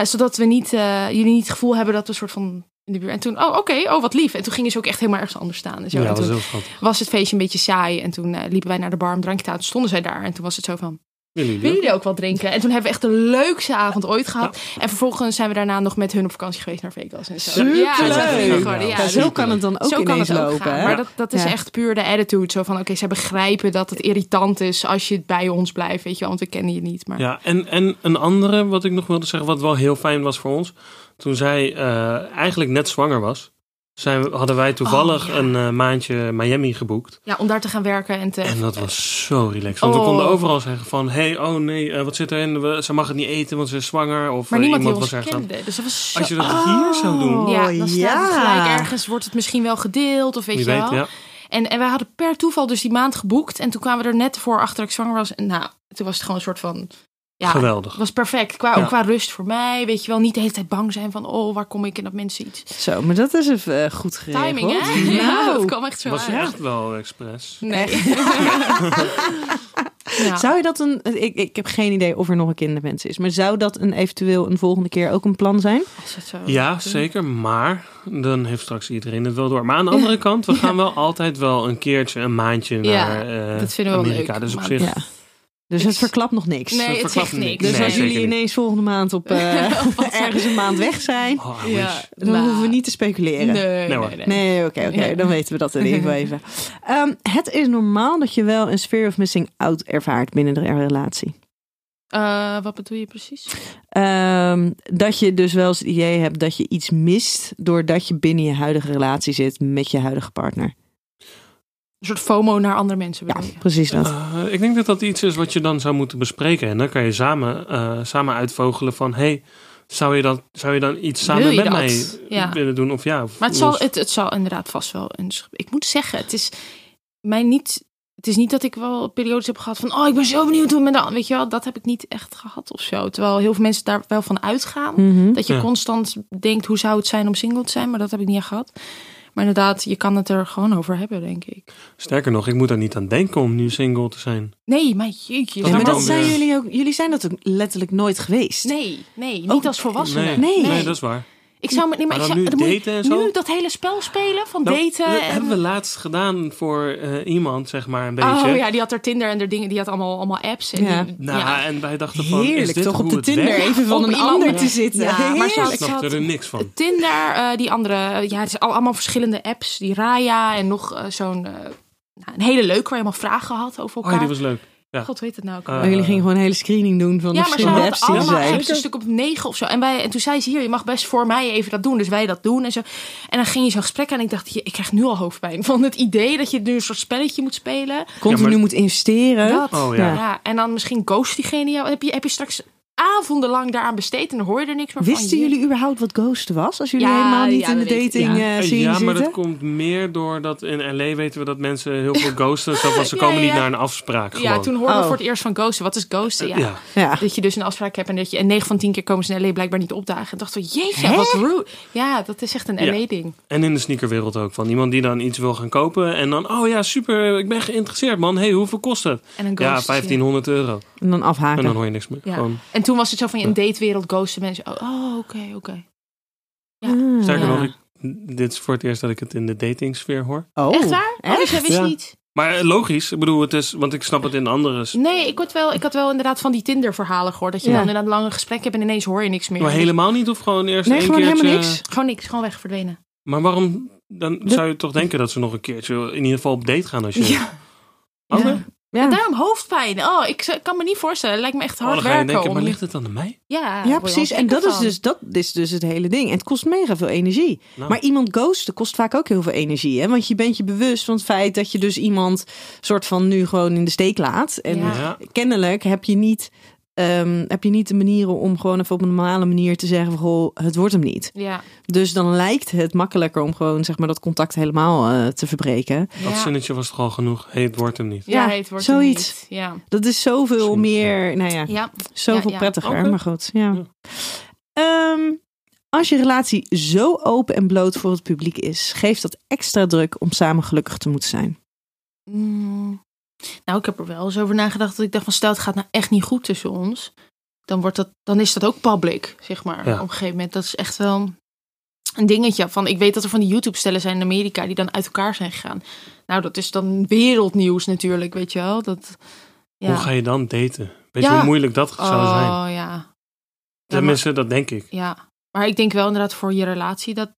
S2: Eh, zodat we niet, eh, jullie niet het gevoel hebben dat we een soort van in de buurt... En toen, oh oké, oh wat lief. En toen gingen ze ook echt helemaal ergens anders staan. En, zo. en
S3: Ja, dat was
S2: toen
S3: heel schattig.
S2: was het feestje een beetje saai. En toen eh, liepen wij naar de bar om drankje te halen. Toen stonden zij daar. En toen was het zo van,
S3: Willen jullie
S2: willen
S3: ook?
S2: jullie ook wat drinken? En toen hebben we echt de leukste avond ooit gehad. En vervolgens zijn we daarna nog met hun op vakantie geweest naar Vegas. En zo.
S4: Superleuk.
S2: Ja, zo zijn we
S3: Ja,
S2: geworden.
S3: ja,
S2: Ja,
S4: Ja,
S2: dus-
S4: zo kan het dan ook
S2: zo kan
S4: ineens
S2: het ook
S4: lopen.
S2: gaan.
S4: hè?
S2: Maar dat, dat is
S4: Ja.
S2: echt puur de attitude. Zo van, oké, ze begrijpen dat het irritant is als je bij ons blijft. Weet je wel, want we kennen je niet. Maar
S3: Ja, en, en een andere wat ik nog wilde zeggen, wat wel heel fijn was voor ons. Toen zij eh, eigenlijk net zwanger was, zijn, we- hadden wij toevallig
S2: Oh, ja.
S3: een eh, maandje Miami geboekt.
S2: ja, om daar te gaan werken en te...
S3: En dat was zo relaxed. Want we
S2: Oh.
S3: konden overal zeggen van, hey, oh nee, eh, wat zit erin? We, ze mag het niet eten, want ze is zwanger. Of
S2: Maar
S3: eh,
S2: niemand die
S3: iemand
S2: ons
S3: was ergens aan-
S2: kende. Oh, Dus dat was zo...
S3: Als je dat hier zou doen,
S2: ja, dan staat het
S4: Oh, ja.
S2: gelijk ergens. Wordt het misschien wel gedeeld of weet
S3: wie
S2: je
S3: weet,
S2: wel.
S3: ja.
S2: En, en wij hadden per toeval dus die maand geboekt. En toen kwamen we er net voor achter dat ik zwanger was. En nou, toen was het gewoon een soort van... Ja,
S3: Geweldig.
S2: het was perfect. Qua,
S3: Ja.
S2: Ook qua rust voor mij. Weet je wel, niet de hele tijd bang zijn van... Oh, waar kom ik en dat mensen iets...
S4: Zo, maar dat is even eh, goed geregeld.
S2: Timing, hè?
S4: Nou,
S2: Ja, dat kwam echt zo
S3: was
S2: uit.
S3: echt wel expres.
S2: Nee. ja.
S4: Zou je dat een... Ik, ik heb geen idee of er nog een kinderwens is. Maar zou dat een eventueel een volgende keer ook een plan zijn?
S2: Als dat zo
S3: Ja,
S2: doen.
S3: zeker. Maar dan heeft straks iedereen het wel door. Maar aan de andere kant, we gaan wel altijd wel een keertje, een maandje
S2: Ja,
S3: naar eh,
S2: dat vinden we wel
S3: Amerika.
S2: leuk,
S3: dus op
S2: maar-
S3: zich,
S4: Ja. Dus
S2: Ik-
S4: het verklapt nog niks.
S2: Nee,
S3: verklapt
S2: het zegt
S3: niks.
S2: niks.
S4: Dus
S3: Nee,
S4: als jullie
S3: zeker niet.
S4: ineens volgende maand op eh, ergens een maand weg zijn,
S3: oh, I
S2: Ja,
S3: wish.
S4: dan
S2: nou,
S4: hoeven we niet te speculeren.
S2: Nee,
S3: Nee, hoor.
S2: nee, nee.
S4: Nee, oké, oké.
S2: Ja.
S4: Dan weten we dat in ieder geval even. Ehm, het is normaal dat je wel een sphere of missing out ervaart binnen de relatie.
S2: Eh, wat bedoel je precies?
S4: Ehm, dat je dus wel eens het idee hebt dat je iets mist doordat je binnen je huidige relatie zit met je huidige partner.
S2: Een soort FOMO naar andere mensen
S4: Ja,
S2: bedoel je?
S4: precies dat.
S3: Eh, ik denk dat dat iets is wat je dan zou moeten bespreken. En dan kan je samen, eh, samen uitvogelen van... hey, zou je, dat, zou je dan iets samen
S2: Wil je
S3: met
S2: dat?
S3: mij
S2: Ja.
S3: willen doen? Of ja, of
S2: Maar het zal,
S3: los?
S2: het, het zal inderdaad vast wel een. sch- Ik moet zeggen, het is mij niet. Het is niet dat ik wel periodes heb gehad van. Oh, ik ben zo benieuwd hoe het met de. an-" Weet je wel, dat heb ik niet echt gehad of zo. Terwijl heel veel mensen daar wel van uitgaan.
S4: Mhm.
S2: Dat je
S3: Ja.
S2: constant denkt hoe zou het zijn om single te zijn, maar dat heb ik niet echt gehad. Maar inderdaad, je kan het er gewoon over hebben, denk ik.
S3: Sterker nog, ik moet er niet aan denken om nu single te zijn.
S2: Nee, maar jeetje.
S3: Ja,
S4: Ja,
S2: zou
S4: maar
S3: dan
S4: dat
S2: ik-
S4: zijn
S3: weer-
S4: jullie ook. Jullie zijn dat ook letterlijk nooit geweest.
S2: Nee, nee, niet
S4: Ook-
S2: als volwassene.
S3: nee,
S4: Nee.
S3: nee, dat is waar.
S2: Ik zou me nee, maar,
S3: Maar
S2: ik
S3: dan
S2: zou,
S3: nu
S2: dan moet je
S3: daten en zo?
S2: Nu dat hele spel spelen van
S3: Nou,
S2: daten.
S3: Dat
S2: en-
S3: hebben we laatst gedaan voor eh, iemand, zeg maar, een beetje.
S2: Oh ja, die had er Tinder en er dingen, die had allemaal, allemaal apps. En
S4: Ja.
S2: die-
S3: Nou,
S2: ja.
S3: en wij dachten van, is
S4: Heerlijk
S3: dit
S4: toch op
S3: hoe
S4: de
S3: het
S4: Tinder
S3: werkt?
S4: even van
S2: Op
S4: een
S2: iemand.
S4: ander
S2: Ja.
S4: te zitten.
S2: Ja, maar
S4: Heerlijk.
S3: Ik
S2: Ze
S3: snapte
S2: had-
S3: er niks van.
S2: Tinder, eh, die andere, eh, ja, het zijn al- allemaal verschillende apps. Die Raya en nog eh, zo'n, eh, nou, een hele leuke waar je allemaal vragen had over
S3: Oh, ja,
S2: elkaar.
S3: die was leuk. ja.
S2: God weet het nou ook.
S3: Eh,
S4: Maar jullie gingen gewoon een hele screening doen van de
S2: ja, maar ze
S4: verschillende
S2: hadden
S4: apps die er
S2: allemaal
S4: zijn.
S2: apps, een stuk op negen of zo. En, wij, en toen zei ze, hier, je mag best voor mij even dat doen. Dus wij dat doen en zo. En dan ging je zo'n gesprek aan en ik dacht, je- ik krijg nu al hoofdpijn. Van het idee dat je nu een soort spelletje moet spelen.
S4: Continu
S3: Ja, maar-
S4: moet investeren.
S2: Dat.
S3: Oh, ja.
S2: Ja. en dan misschien ghost diegene jou. Heb je, heb je straks avondenlang daaraan besteed en dan hoor je er niks meer van.
S4: Wisten
S2: Je-
S4: jullie überhaupt wat ghosten was? Als jullie
S2: Ja,
S4: helemaal niet
S2: ja,
S4: in de
S2: dat weet ik.
S4: dating eh,
S3: Eh,
S4: scene
S3: ja, maar
S4: zitten?
S3: dat komt meer doordat in L.A. weten we dat mensen heel veel ghosten. Zo van, ze
S2: Ja,
S3: komen
S2: ja,
S3: niet
S2: ja.
S3: naar een afspraak gewoon.
S2: Ja, toen hoorden
S4: Oh.
S2: we voor het eerst van ghosten. Wat is ghosten? Ja.
S3: Eh, ja.
S4: Ja.
S2: Dat je dus een afspraak hebt en dat je en 9 van 10 keer komen ze in LA blijkbaar niet opdagen. En dachten we, jeetje, wat rude. Ja, dat is echt een
S3: Ja.
S2: LA-ding.
S3: En in de sneakerwereld ook. Van iemand die dan iets wil gaan kopen. En dan, oh ja, super, ik ben geïnteresseerd man. hey, hoeveel kost het?
S2: En een ghost.
S3: Ja, 1500 euro.
S4: En dan afhaken.
S3: En dan hoor je niks meer.
S2: Ja.
S3: Gewoon.
S2: En toen was het zo van, je in datewereld ghosten mensen. Oh, oh, oké, oké.
S4: Ah.
S3: Sterker
S2: Ja.
S3: nog, ik, dit is voor het eerst dat ik het in de datingsfeer hoor.
S4: Oh.
S2: Echt waar? Oh, dus jij wist
S3: Ja.
S2: niet.
S3: Maar eh, logisch, ik bedoel, het is, want ik snap het in andere... s-
S2: Nee, ik had wel, ik had wel inderdaad van die Tinder-verhalen gehoord. Dat je
S4: Ja.
S2: dan inderdaad lange gesprek hebt en ineens hoor je niks meer.
S3: Maar helemaal niet of gewoon eerst
S4: Nee,
S3: één
S4: gewoon
S3: keertje...
S4: helemaal niks.
S2: Gewoon niks, gewoon weg, verdwenen.
S3: Maar waarom? Dan
S4: Dat-
S3: zou je toch denken dat ze nog een keertje in ieder geval op date gaan als je.
S2: Ja.
S3: Oh, nee?
S4: Ja. Ja.
S2: Daarom hoofdpijn. Oh, ik z- kan me niet voorstellen. Het lijkt me echt
S3: Oh,
S2: hard
S3: dan ga je
S2: werken.
S3: denken,
S2: om-
S3: maar ligt het dan aan mij?
S2: Ja,
S4: Ja, precies. En dat is, dus, dat is dus het hele ding. En het kost mega veel energie.
S3: Nou.
S4: Maar iemand ghosten kost vaak ook heel veel energie. Hè? Want je bent je bewust van het feit dat je dus iemand soort van nu gewoon in de steek laat. En
S2: Ja.
S3: Ja.
S4: kennelijk heb je niet eh, ehm, heb je niet de manieren om gewoon even op een normale manier te zeggen: van, goh, het wordt hem niet.
S2: Ja.
S4: Dus dan lijkt het makkelijker om gewoon zeg maar, dat contact helemaal eh, te verbreken.
S3: Dat
S2: ja.
S3: zinnetje was toch al genoeg. Hé, het wordt hem niet.
S2: Ja,
S4: Ja,
S2: het wordt
S4: zoiets.
S2: hem niet. Ja.
S4: Dat is zoveel
S3: Misschien,
S4: meer, nou ja,
S2: Ja.
S4: zoveel
S2: ja.
S4: prettiger.
S3: Oké.
S4: Maar goed, ja.
S3: Ja.
S4: Ehm, als je relatie zo open en bloot voor het publiek is, geeft dat extra druk om samen gelukkig te moeten zijn.
S2: Mm. Nou, ik heb er wel eens over nagedacht dat ik dacht van stel het gaat nou echt niet goed tussen ons, dan wordt dat, dan is dat ook public, zeg maar.
S3: Ja.
S2: Op een gegeven moment, dat is echt wel een dingetje van. Ik weet dat er van die YouTube-stellen zijn in Amerika die dan uit elkaar zijn gegaan. Nou, dat is dan wereldnieuws natuurlijk, weet je wel? Dat ja.
S3: Hoe ga je dan daten? Weet je
S2: Ja.
S3: hoe moeilijk dat zou zijn?
S2: Oh ja. Ja, maar-
S3: Tenminste, dat denk ik.
S2: Ja, maar ik denk wel inderdaad voor je relatie dat.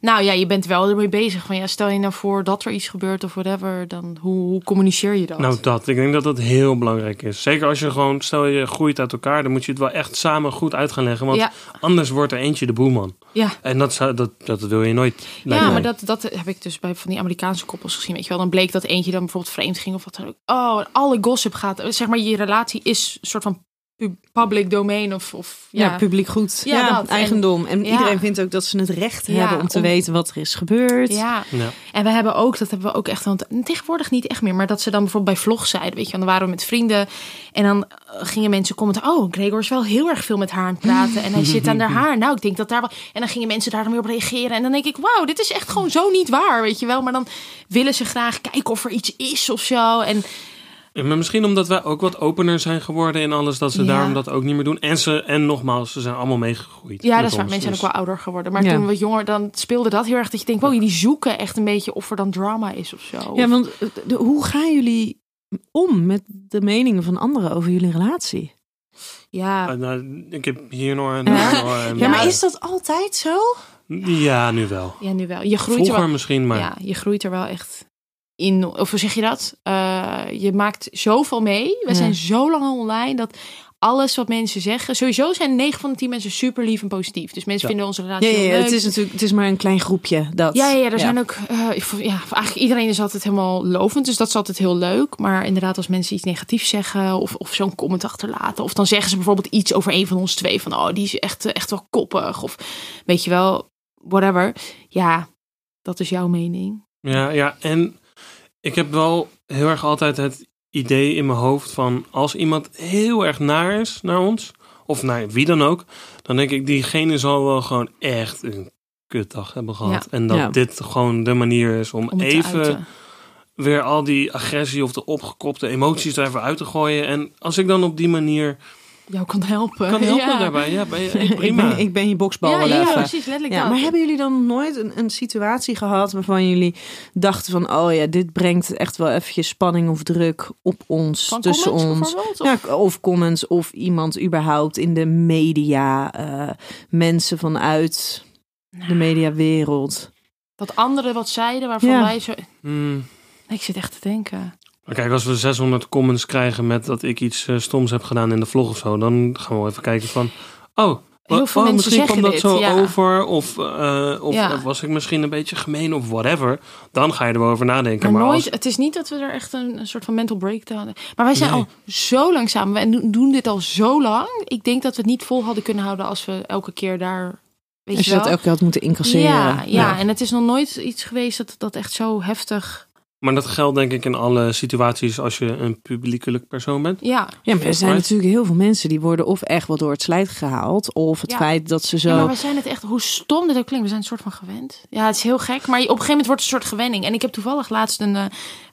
S2: Nou ja, je bent wel ermee bezig. Van ja, stel je nou voor dat er iets gebeurt of whatever, dan hoe, hoe communiceer je dat?
S3: Nou, dat. Ik denk dat dat heel belangrijk is. Zeker als je gewoon, stel je groeit uit elkaar, dan moet je het wel echt samen goed uit gaan leggen. Want
S2: Ja.
S3: anders wordt er eentje de boeman.
S2: ja,
S3: En dat, zou, dat, dat wil je nooit. lijkt
S2: ja,
S3: mij.
S2: maar dat, dat heb ik dus bij van die Amerikaanse koppels gezien. Weet je wel, dan bleek dat eentje dan bijvoorbeeld vreemd ging of wat dan ook. Oh, en alle gossip gaat. Zeg maar, je relatie is een soort van pu- public domein of, of
S4: Ja,
S2: ja.
S4: publiek goed.
S2: Ja,
S4: Ja,
S2: dat. En-
S4: eigendom. En
S2: Ja.
S4: iedereen vindt ook dat ze het recht
S2: Ja,
S4: hebben om te
S2: om-
S4: weten wat er is gebeurd.
S2: Ja,
S3: Ja.
S2: en we hebben ook, dat hebben we ook echt, want tegenwoordig niet echt meer, maar dat ze dan bijvoorbeeld bij vlogs zeiden, weet je, wel, dan waren we met vrienden en dan eh, gingen mensen commenten, oh, Gregor is wel heel erg veel met haar aan het praten en hij zit aan haar haar. Nou, ik denk dat daar wel, en dan gingen mensen daar dan weer op reageren en dan denk ik, wauw, dit is echt gewoon zo niet waar, weet je wel. Maar dan willen ze graag kijken of er iets is of zo en
S3: Ja, Maar misschien omdat wij ook wat opener zijn geworden in alles, dat ze
S2: Ja.
S3: daarom dat ook niet meer doen. En, ze, en nogmaals, ze zijn allemaal meegegroeid.
S2: Ja,
S3: met
S2: dat is waar.
S3: ons.
S2: Mensen zijn ook
S3: Dus-
S2: wel ouder geworden. Maar
S4: Ja.
S2: toen we wat jonger, dan speelde dat heel erg. Dat je denkt, wow, jullie zoeken echt een beetje of er dan drama is of zo.
S4: Ja, want eh, de- hoe gaan jullie om met de meningen van anderen over jullie relatie?
S2: ja.
S3: Ah, nou, ik heb hier nog en
S4: Ja.
S3: daar nog en-
S4: Ja, maar is dat altijd zo?
S3: Ja, nu wel.
S2: Ja, nu wel. Je groeit er
S3: Vroeger
S2: wel,
S3: misschien, maar
S2: ja, je groeit er wel echt in. Of hoe zeg je dat? Eh, je maakt zoveel mee. We
S4: Ja.
S2: zijn zo lang al online dat alles wat mensen zeggen... Sowieso zijn 9 van de 10 mensen super lief en positief. Dus mensen
S3: Ja.
S2: vinden onze
S4: Ja,
S2: relatie
S4: ja,
S2: heel
S4: ja,
S2: leuk.
S4: het is natuurlijk het is maar een klein groepje. Dat.
S2: Ja, ja, ja, er zijn ook. eh, ik vo- ja, eigenlijk iedereen is altijd helemaal lovend. Dus dat is altijd heel leuk. Maar inderdaad, als mensen iets negatiefs zeggen. Of, of zo'n comment achterlaten. Of dan zeggen ze bijvoorbeeld iets over een van ons twee. Van oh, die is echt, eh, echt wel koppig. Of weet je wel, whatever. Ja, dat is jouw mening.
S3: Ja, ja, en ik heb wel heel erg altijd het idee in mijn hoofd van als iemand heel erg naar is naar ons, of naar wie dan ook, dan denk ik diegene zal wel gewoon echt een kutdag hebben gehad. En dat
S4: Ja.
S3: dit gewoon de manier is om,
S2: Om het te
S3: even
S2: uiten.
S3: weer al die agressie of de opgekopte emoties er even uit te gooien. En als ik dan op die manier
S2: Jou kan helpen.
S3: kan helpen
S2: ja.
S3: daarbij, ja, ben je, hey,
S4: ik,
S3: prima.
S4: ben, ik ben je boksbal
S2: Ja,
S4: wel
S2: ja,
S4: even.
S2: precies. Letterlijk
S4: Ja,
S2: dat.
S4: maar hebben jullie dan nooit een, een situatie gehad waarvan jullie dachten van... oh ja, dit brengt echt wel eventjes spanning of druk op ons,
S2: Van
S4: tussen
S2: comments
S4: ons.
S2: bijvoorbeeld? Of-
S4: Ja, k- of comments of iemand überhaupt in de media. eh, mensen vanuit
S2: Nou,
S4: de mediawereld.
S2: Dat anderen wat zeiden waarvan
S4: Ja.
S2: wij zo...
S3: Hmm.
S2: Ik zit echt te denken.
S3: Maar kijk, als we 600 comments krijgen met dat ik iets eh, stoms heb gedaan in de vlog of zo, dan gaan we wel even kijken van, oh, wa-
S2: Heel veel
S3: oh,
S2: mensen
S3: misschien
S2: zeggen
S3: kwam dat
S2: dit,
S3: zo
S2: ja.
S3: over, of, eh, of
S2: Ja.
S3: eh, was ik misschien een beetje gemeen of whatever. Dan ga je er wel over nadenken.
S2: Maar,
S3: Maar,
S2: nooit,
S3: als-
S2: het is niet dat we er echt een, een soort van mental breakdown Maar wij zijn
S3: Nee.
S2: al zo lang samen en doen- doen dit al zo lang. Ik denk dat we het niet vol hadden kunnen houden als we elke keer daar. Weet
S4: Als je
S2: wel?
S4: dat elke keer had moeten incasseren.
S2: ja, ja,
S3: Ja.
S2: en het is nog nooit iets geweest dat, dat echt zo heftig.
S3: maar dat geldt denk ik in alle situaties als je een publiekelijk persoon bent.
S2: Ja,
S4: Ja, maar er zijn
S3: Maar-
S4: natuurlijk heel veel mensen die worden of echt wel door het slijt gehaald. Of het
S2: Ja.
S4: feit dat ze zo...
S2: Ja, maar we zijn het echt, hoe stom dit ook klinkt, we zijn een soort van gewend. Ja, het is heel gek, maar op een gegeven moment wordt het een soort gewenning. En ik heb toevallig laatst een eh,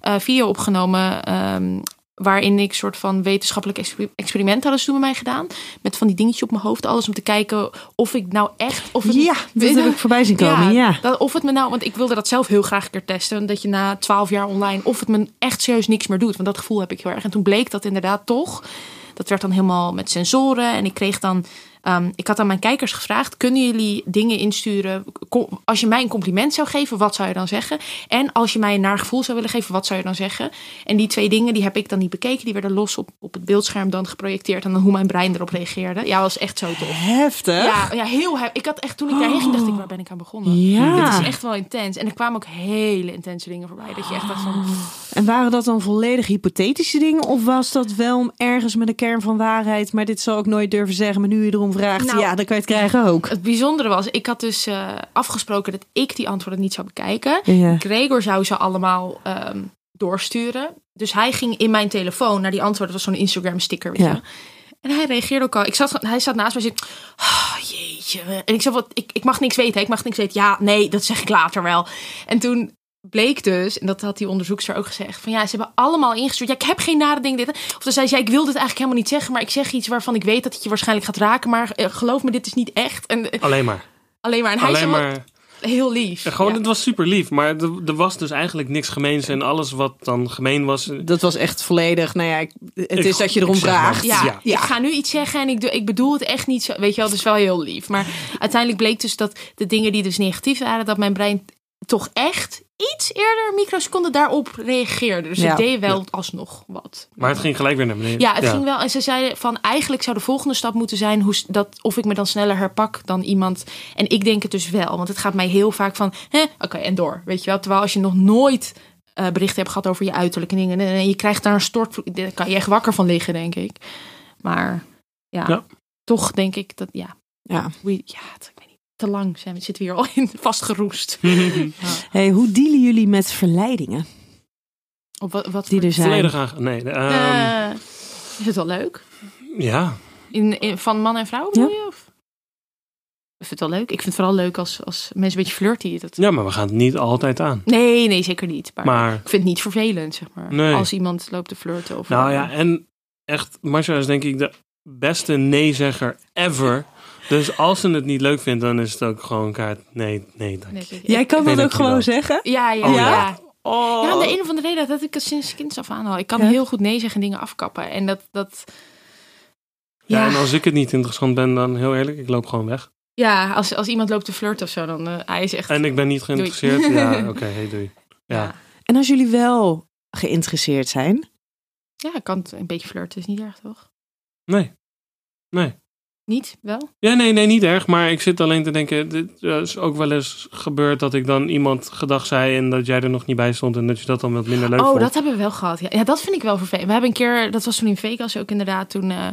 S2: eh, video opgenomen ehm, waarin ik een soort van wetenschappelijk exper- experiment hadden ze toen bij mij gedaan. Met van die dingetjes op mijn hoofd, alles om te kijken of ik nou echt... Of het-
S4: Ja, dat heb ik voorbij zien komen. Ja,
S2: dat- of het me nou, want ik wilde dat zelf heel graag een keer testen. Dat je na twaalf jaar online, of het me echt serieus niks meer doet. Want dat gevoel heb ik heel erg. En toen bleek dat inderdaad toch. Dat werd dan helemaal met sensoren. En ik kreeg dan Ehm, ik had aan mijn kijkers gevraagd: kunnen jullie dingen insturen? Kom- Als je mij een compliment zou geven, wat zou je dan zeggen? En als je mij een naar gevoel zou willen geven, wat zou je dan zeggen? En die twee dingen die heb ik dan niet bekeken. Die werden los op, op het beeldscherm dan geprojecteerd. En dan hoe mijn brein erop reageerde. Ja, was echt zo tof.
S4: Heftig.
S2: Ja, ja, heel hef- Ik had echt toen ik daarheen ging, dacht ik, waar ben ik aan begonnen?
S4: Ja.
S2: Dit is echt wel intens. En er kwamen ook hele intense dingen voorbij. Dat je echt dacht van,
S4: En waren dat dan volledig hypothetische dingen? Of was dat wel ergens met een kern van waarheid, maar dit zou ik nooit durven zeggen, maar nu je erom vraagt,
S2: Nou.
S4: ja, dan kan je het krijgen ook.
S2: Het bijzondere was, ik had dus eh, afgesproken dat ik die antwoorden niet zou bekijken.
S4: Ja.
S2: Gregor zou ze allemaal ehm, doorsturen. Dus hij ging in mijn telefoon naar die antwoorden. Dat was zo'n Instagram sticker. Weet
S4: Ja.
S2: je. En hij reageerde ook al. Ik zat, hij zat naast mij en zei, "Ah, jeetje. En ik zei, wat, ik, ik mag niks weten. hè, Ik mag niks weten. Ja, nee, dat zeg ik later wel. En toen bleek dus, en dat had die onderzoekster ook gezegd, van ja, ze hebben allemaal ingestuurd. Ja, ik heb geen nare ding. Dit. Of dan zei ze, ja, ik wil dit eigenlijk helemaal niet zeggen, maar ik zeg iets waarvan ik weet dat het je waarschijnlijk gaat raken, maar eh, geloof me, dit is niet echt. En eh,
S3: Alleen maar.
S2: alleen maar, en hij
S3: Alleen
S2: zei,
S3: maar.
S2: "Wat heel lief.
S3: Ja, gewoon,
S2: Ja.
S3: het was super lief. Maar er, er was dus eigenlijk niks gemeens. En alles wat dan gemeen was.
S4: Dat was echt volledig, nou ja, ik- het
S3: Ik-
S4: is dat je erom
S3: ik zeg maar.
S4: vraagt.
S2: Ja,
S3: Ja.
S2: ik ga nu iets zeggen en ik, doe, ik bedoel het echt niet zo. Weet je wel, dus wel heel lief. Maar uiteindelijk bleek dus dat de dingen die dus negatief waren, dat mijn brein toch echt iets eerder, een microseconde, daarop reageerde. Dus
S4: Ja.
S2: het deed wel alsnog wat.
S3: Maar het ging gelijk weer naar beneden.
S2: Ja, het ging wel. En ze zeiden van eigenlijk zou de volgende stap moeten zijn hoe, s- dat, of ik me dan sneller herpak dan iemand. En ik denk het dus wel, want het gaat mij heel vaak van, hè, oké, en door. Weet je wel, terwijl als je nog nooit eh, berichten hebt gehad over je uiterlijke dingen en, en je krijgt daar een stortvloed, daar kan je echt wakker van liggen, denk ik. Maar ja,
S3: Ja.
S2: toch denk ik dat, ja,
S4: Ja.
S2: we, ja het- ik weet niet, te lang zijn we, zitten we hier al in vastgeroest.
S4: Hey, hoe dealen jullie met verleidingen
S2: Op wat, wat
S4: die
S2: voor-
S4: er zijn?
S3: Volledig aan. Nee, ehm,
S2: Eh, is het wel leuk?
S3: ja.
S2: In, in- van man en vrouw bedoel je? Of? Ik vind het wel leuk. Ik vind het vooral leuk als, als mensen een beetje flirty. Dat...
S3: ja, maar we gaan het niet altijd aan.
S2: Nee, nee, zeker niet. Maar,
S3: Maar,
S2: ik vind het niet vervelend, zeg maar.
S3: Nee.
S2: Als iemand loopt te flirten. Of
S3: nou ja, en echt, Marcia is denk ik de beste nee-zegger ever. Dus als ze het niet leuk vindt, dan is het ook gewoon kaart. Nee, nee, dank
S2: Nee,
S3: je.
S2: ik- ik-
S4: Jij kan
S3: Nee,
S4: dat ook
S3: dankjewel.
S4: gewoon zeggen.
S2: Ja, ja,
S3: Oh,
S2: ja.
S3: ja.
S4: Oh.
S2: Ja, om de een of andere reden dat ik het sinds kind af aan al. Ik kan
S4: Ja.
S2: heel goed nee zeggen en dingen afkappen. En dat... dat...
S3: Ja, en als ik het niet interessant ben, dan heel eerlijk, ik loop gewoon weg.
S2: ja als, als iemand loopt te flirten of zo, dan eh, hij is echt...
S3: En ik ben niet geïnteresseerd.
S2: Doei.
S3: Ja, oké, hey, doei. Ja.
S4: En als jullie wel geïnteresseerd zijn,
S2: ja, ik kan het- een beetje flirten. is niet erg, toch?
S3: Nee. Nee.
S2: Niet? Wel?
S3: Ja, nee, nee, niet erg. Maar ik zit alleen te denken, dit eh, is ook wel eens gebeurd dat ik dan iemand gedag zei en dat jij er nog niet bij stond en dat je dat dan wat minder leuk
S2: oh,
S3: vond.
S2: dat hebben we wel gehad. Ja, ja, dat vind ik wel vervelend. We hebben een keer, dat was toen in Vegas ook inderdaad, toen... eh,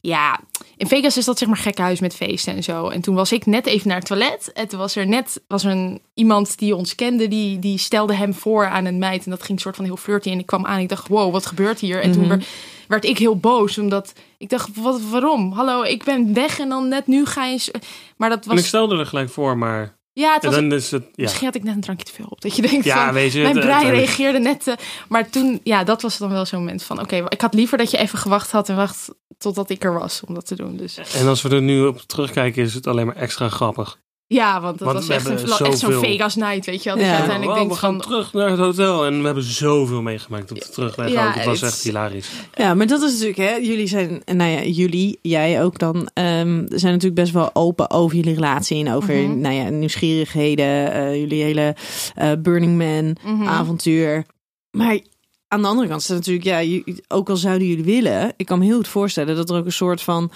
S2: ja, in Vegas is dat zeg maar gekhuis met feesten en zo. En toen was ik net even naar het toilet. En toen was er net was er een, iemand die ons kende, die, die stelde hem voor aan een meid. En dat ging soort van heel flirty. En ik kwam aan en ik dacht, wow, wat gebeurt hier? En toen
S4: Mhm.
S2: werd, werd ik heel boos, omdat ik dacht, wat, waarom? Hallo, ik ben weg en dan net nu ga je... eens- Maar dat
S3: En ik
S2: was...
S3: stelde er gelijk voor, maar
S2: Ja, het
S3: en
S2: was...
S3: dan is het... Ja,
S2: Misschien had ik net een drankje te veel op. Dat je denkt
S3: ja
S2: van,
S3: weet je...
S2: mijn
S3: het-
S2: brein
S3: het-
S2: reageerde net. eh, maar toen, ja, dat was dan wel zo'n moment van: oké, ik had liever dat je even gewacht had en wacht totdat ik er was om dat te doen. Dus
S3: En als we er nu op terugkijken, is het alleen maar extra grappig.
S2: ja, want dat
S3: Want
S2: was
S3: we
S2: echt, een,
S3: hebben
S2: vla- echt zo'n
S3: zoveel.
S2: Vegas night, weet je wel. Dat
S4: Ja.
S2: je
S3: En
S2: uiteindelijk
S3: we
S2: denkt
S3: gaan
S2: van.
S3: terug naar het hotel en we hebben zoveel meegemaakt op de terugweg.
S2: Ja,
S3: ook. Het was
S2: het-
S3: echt hilarisch.
S4: Ja, maar dat is natuurlijk, hè, jullie zijn, nou ja, jullie, jij ook dan, ehm, zijn natuurlijk best wel open over jullie relatie en over,
S2: Mhm.
S4: nou ja, nieuwsgierigheden, eh, jullie hele eh, Burning Man
S2: mhm.
S4: avontuur. Maar aan de andere kant is het natuurlijk, ja, ju- ook al zouden jullie willen, ik kan me heel goed voorstellen dat er ook een soort van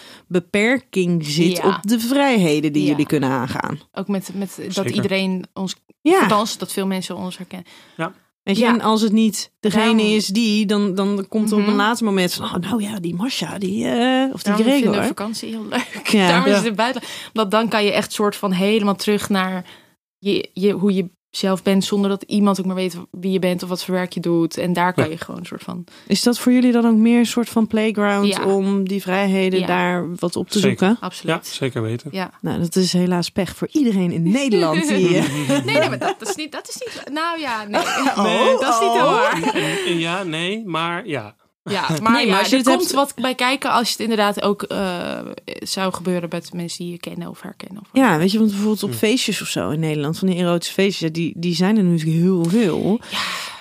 S4: beperking zit
S2: Ja.
S4: op de vrijheden die
S2: Ja.
S4: jullie kunnen aangaan.
S2: Ook met, met dat
S3: Zeker.
S2: iedereen ons,
S4: Ja.
S2: althans, dat veel mensen ons herkennen.
S4: Weet je,
S2: Ja.
S4: en als het niet degene
S2: Daarom-
S4: is die, dan, dan komt er op een
S2: Mhm.
S4: laatste moment van, oh, nou ja, die Masha, die, eh, of die
S2: Daarom vinden we
S4: Gregor.
S2: vakantie heel leuk.
S4: Ja.
S2: Daarom
S3: Ja.
S2: is het buiten. Want dan kan je echt soort van helemaal terug naar je, je, hoe je zelf bent, zonder dat iemand ook maar weet wie je bent of wat voor werk je doet. En daar kan
S3: Ja.
S2: je gewoon een soort van
S4: Is dat voor jullie dan ook meer een soort van playground
S2: Ja.
S4: om die vrijheden
S2: Ja.
S4: daar wat op te
S3: Zeker.
S4: zoeken?
S3: Ja,
S2: absoluut.
S3: zeker weten.
S2: ja.
S4: Nou, dat is helaas pech voor iedereen in Nederland. Die, eh,
S2: Nee, nee, maar dat, dat is niet. Dat is niet. Nou ja, nee.
S4: Oh,
S2: dat is niet heel
S4: oh.
S2: waar.
S3: Ja, nee, maar ja.
S2: Ja, maar,
S4: Nee, maar
S2: ja,
S4: als je
S2: er
S4: het
S2: komt
S4: hebt-
S2: wat bij kijken als het inderdaad ook eh, zou gebeuren met mensen die je kennen of herkennen. Of
S4: Ja, weet je, want bijvoorbeeld op
S3: Hm.
S4: feestjes of zo in Nederland, van die erotische feestjes, ja, die, die zijn er natuurlijk heel veel.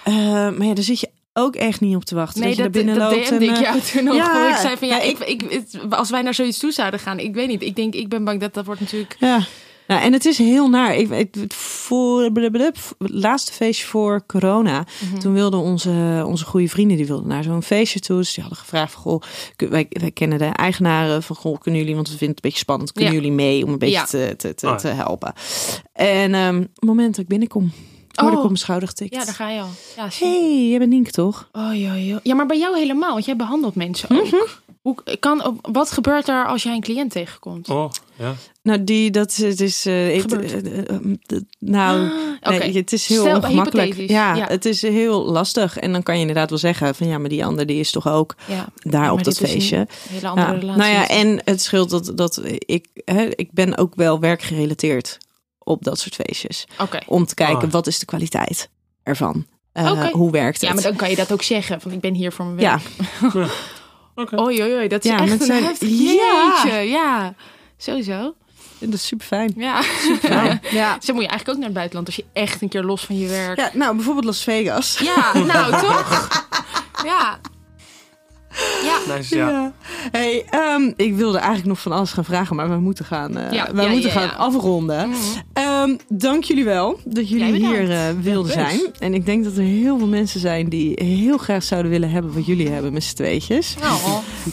S4: Eh, maar ja, daar zit je ook echt niet op te wachten.
S2: Nee,
S4: dat,
S2: dat,
S4: je daar
S2: dat
S4: binnen loopt.
S2: DM'de
S4: en,
S2: ik
S4: eh,
S2: jou toen ook.
S4: ja,
S2: hoor. ik zei van ja,
S4: ja,
S2: ik, ik, het- als wij naar zoiets toe zouden gaan, ik weet niet. Ik denk, ik ben bang dat dat wordt natuurlijk.
S4: Ja. Nou, en het is heel naar. Ik, ik, het voor, blablabla, het laatste feestje voor corona.
S2: Mhm.
S4: Toen wilden onze, onze goede vrienden die wilden naar zo'n feestje toe. Dus die hadden gevraagd: van, Goh, kun- wij, wij kennen de eigenaren van Goh, kunnen jullie, want we vinden het een beetje spannend, kunnen
S2: Ja.
S4: jullie mee om een beetje
S2: Ja.
S4: te, te, te,
S3: Oh ja.
S4: te helpen? En ehm, op het moment dat ik binnenkom, hoorde
S2: Oh.
S4: ik op mijn schouder getikt.
S2: Ja, daar ga je al. Ja, shit.
S4: hey, jij bent Nienke toch?
S2: Oh, joh, joh. Ja, maar bij jou helemaal, want jij behandelt mensen ook.
S4: Mhm.
S2: Hoe kan, op- wat gebeurt er als jij een cliënt tegenkomt?
S3: Oh, ja.
S4: Nou, die, dat is, het is, eh, ik-
S2: Gebeurd.
S4: eh, eh, eh, d- nou,
S2: oké.
S4: nee, het is heel
S2: Stel,
S4: ongemakkelijk.
S2: hypothetisch,
S4: Ja,
S2: ja.
S4: het is heel lastig. En dan kan je inderdaad wel zeggen van ja, maar die ander die is toch ook
S2: Ja,
S4: daar
S2: maar
S4: op dat
S2: dit is
S4: feestje.
S2: een hele andere
S4: Ja.
S2: relatie.
S4: Nou ja, en het scheelt dat, dat ik, hè, ik ben ook wel werkgerelateerd op dat soort feestjes.
S2: Oké.
S4: Om te kijken,
S3: Ah.
S4: wat is de kwaliteit ervan? Eh,
S2: Oké.
S4: Hoe werkt het?
S2: Ja, maar dan kan je dat ook zeggen. Van ik ben hier voor mijn
S4: Ja.
S2: werk.
S3: Oké.
S2: Oh, joh, joh, dat is
S4: Ja,
S2: echt
S4: met
S2: een
S4: zijn-
S2: heftig
S4: Ja.
S2: jeetje. Ja, sowieso.
S4: dat is super fijn.
S2: Ja.
S4: Ja.
S2: Zo moet je eigenlijk ook naar het buitenland als je echt een keer los van je werk.
S4: ja, nou bijvoorbeeld Las Vegas.
S2: Ja, nou toch? Ja. Ja.
S3: Nice, ja.
S4: Hey, ehm, ik wilde eigenlijk nog van alles gaan vragen, maar we moeten gaan, eh
S2: Ja,
S4: wij
S2: ja,
S4: moeten
S2: ja,
S4: gaan
S2: ja.
S4: afronden.
S2: Mm.
S4: Ehm, dank jullie wel dat jullie
S2: Jij bedankt.
S4: hier eh, wilden
S3: Ja,
S4: zijn.
S3: thanks.
S4: En ik denk dat er heel veel mensen zijn die heel graag zouden willen hebben wat jullie hebben met z'n tweetjes.
S2: Nou,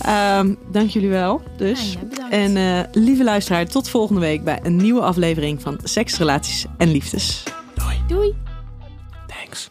S4: Ehm, dank jullie wel. Dus.
S2: Ja, jij bedankt.
S4: en eh, lieve luisteraar, tot volgende week bij een nieuwe aflevering van Seks, Relaties en Liefdes.
S3: Doei.
S2: doei.
S3: Thanks.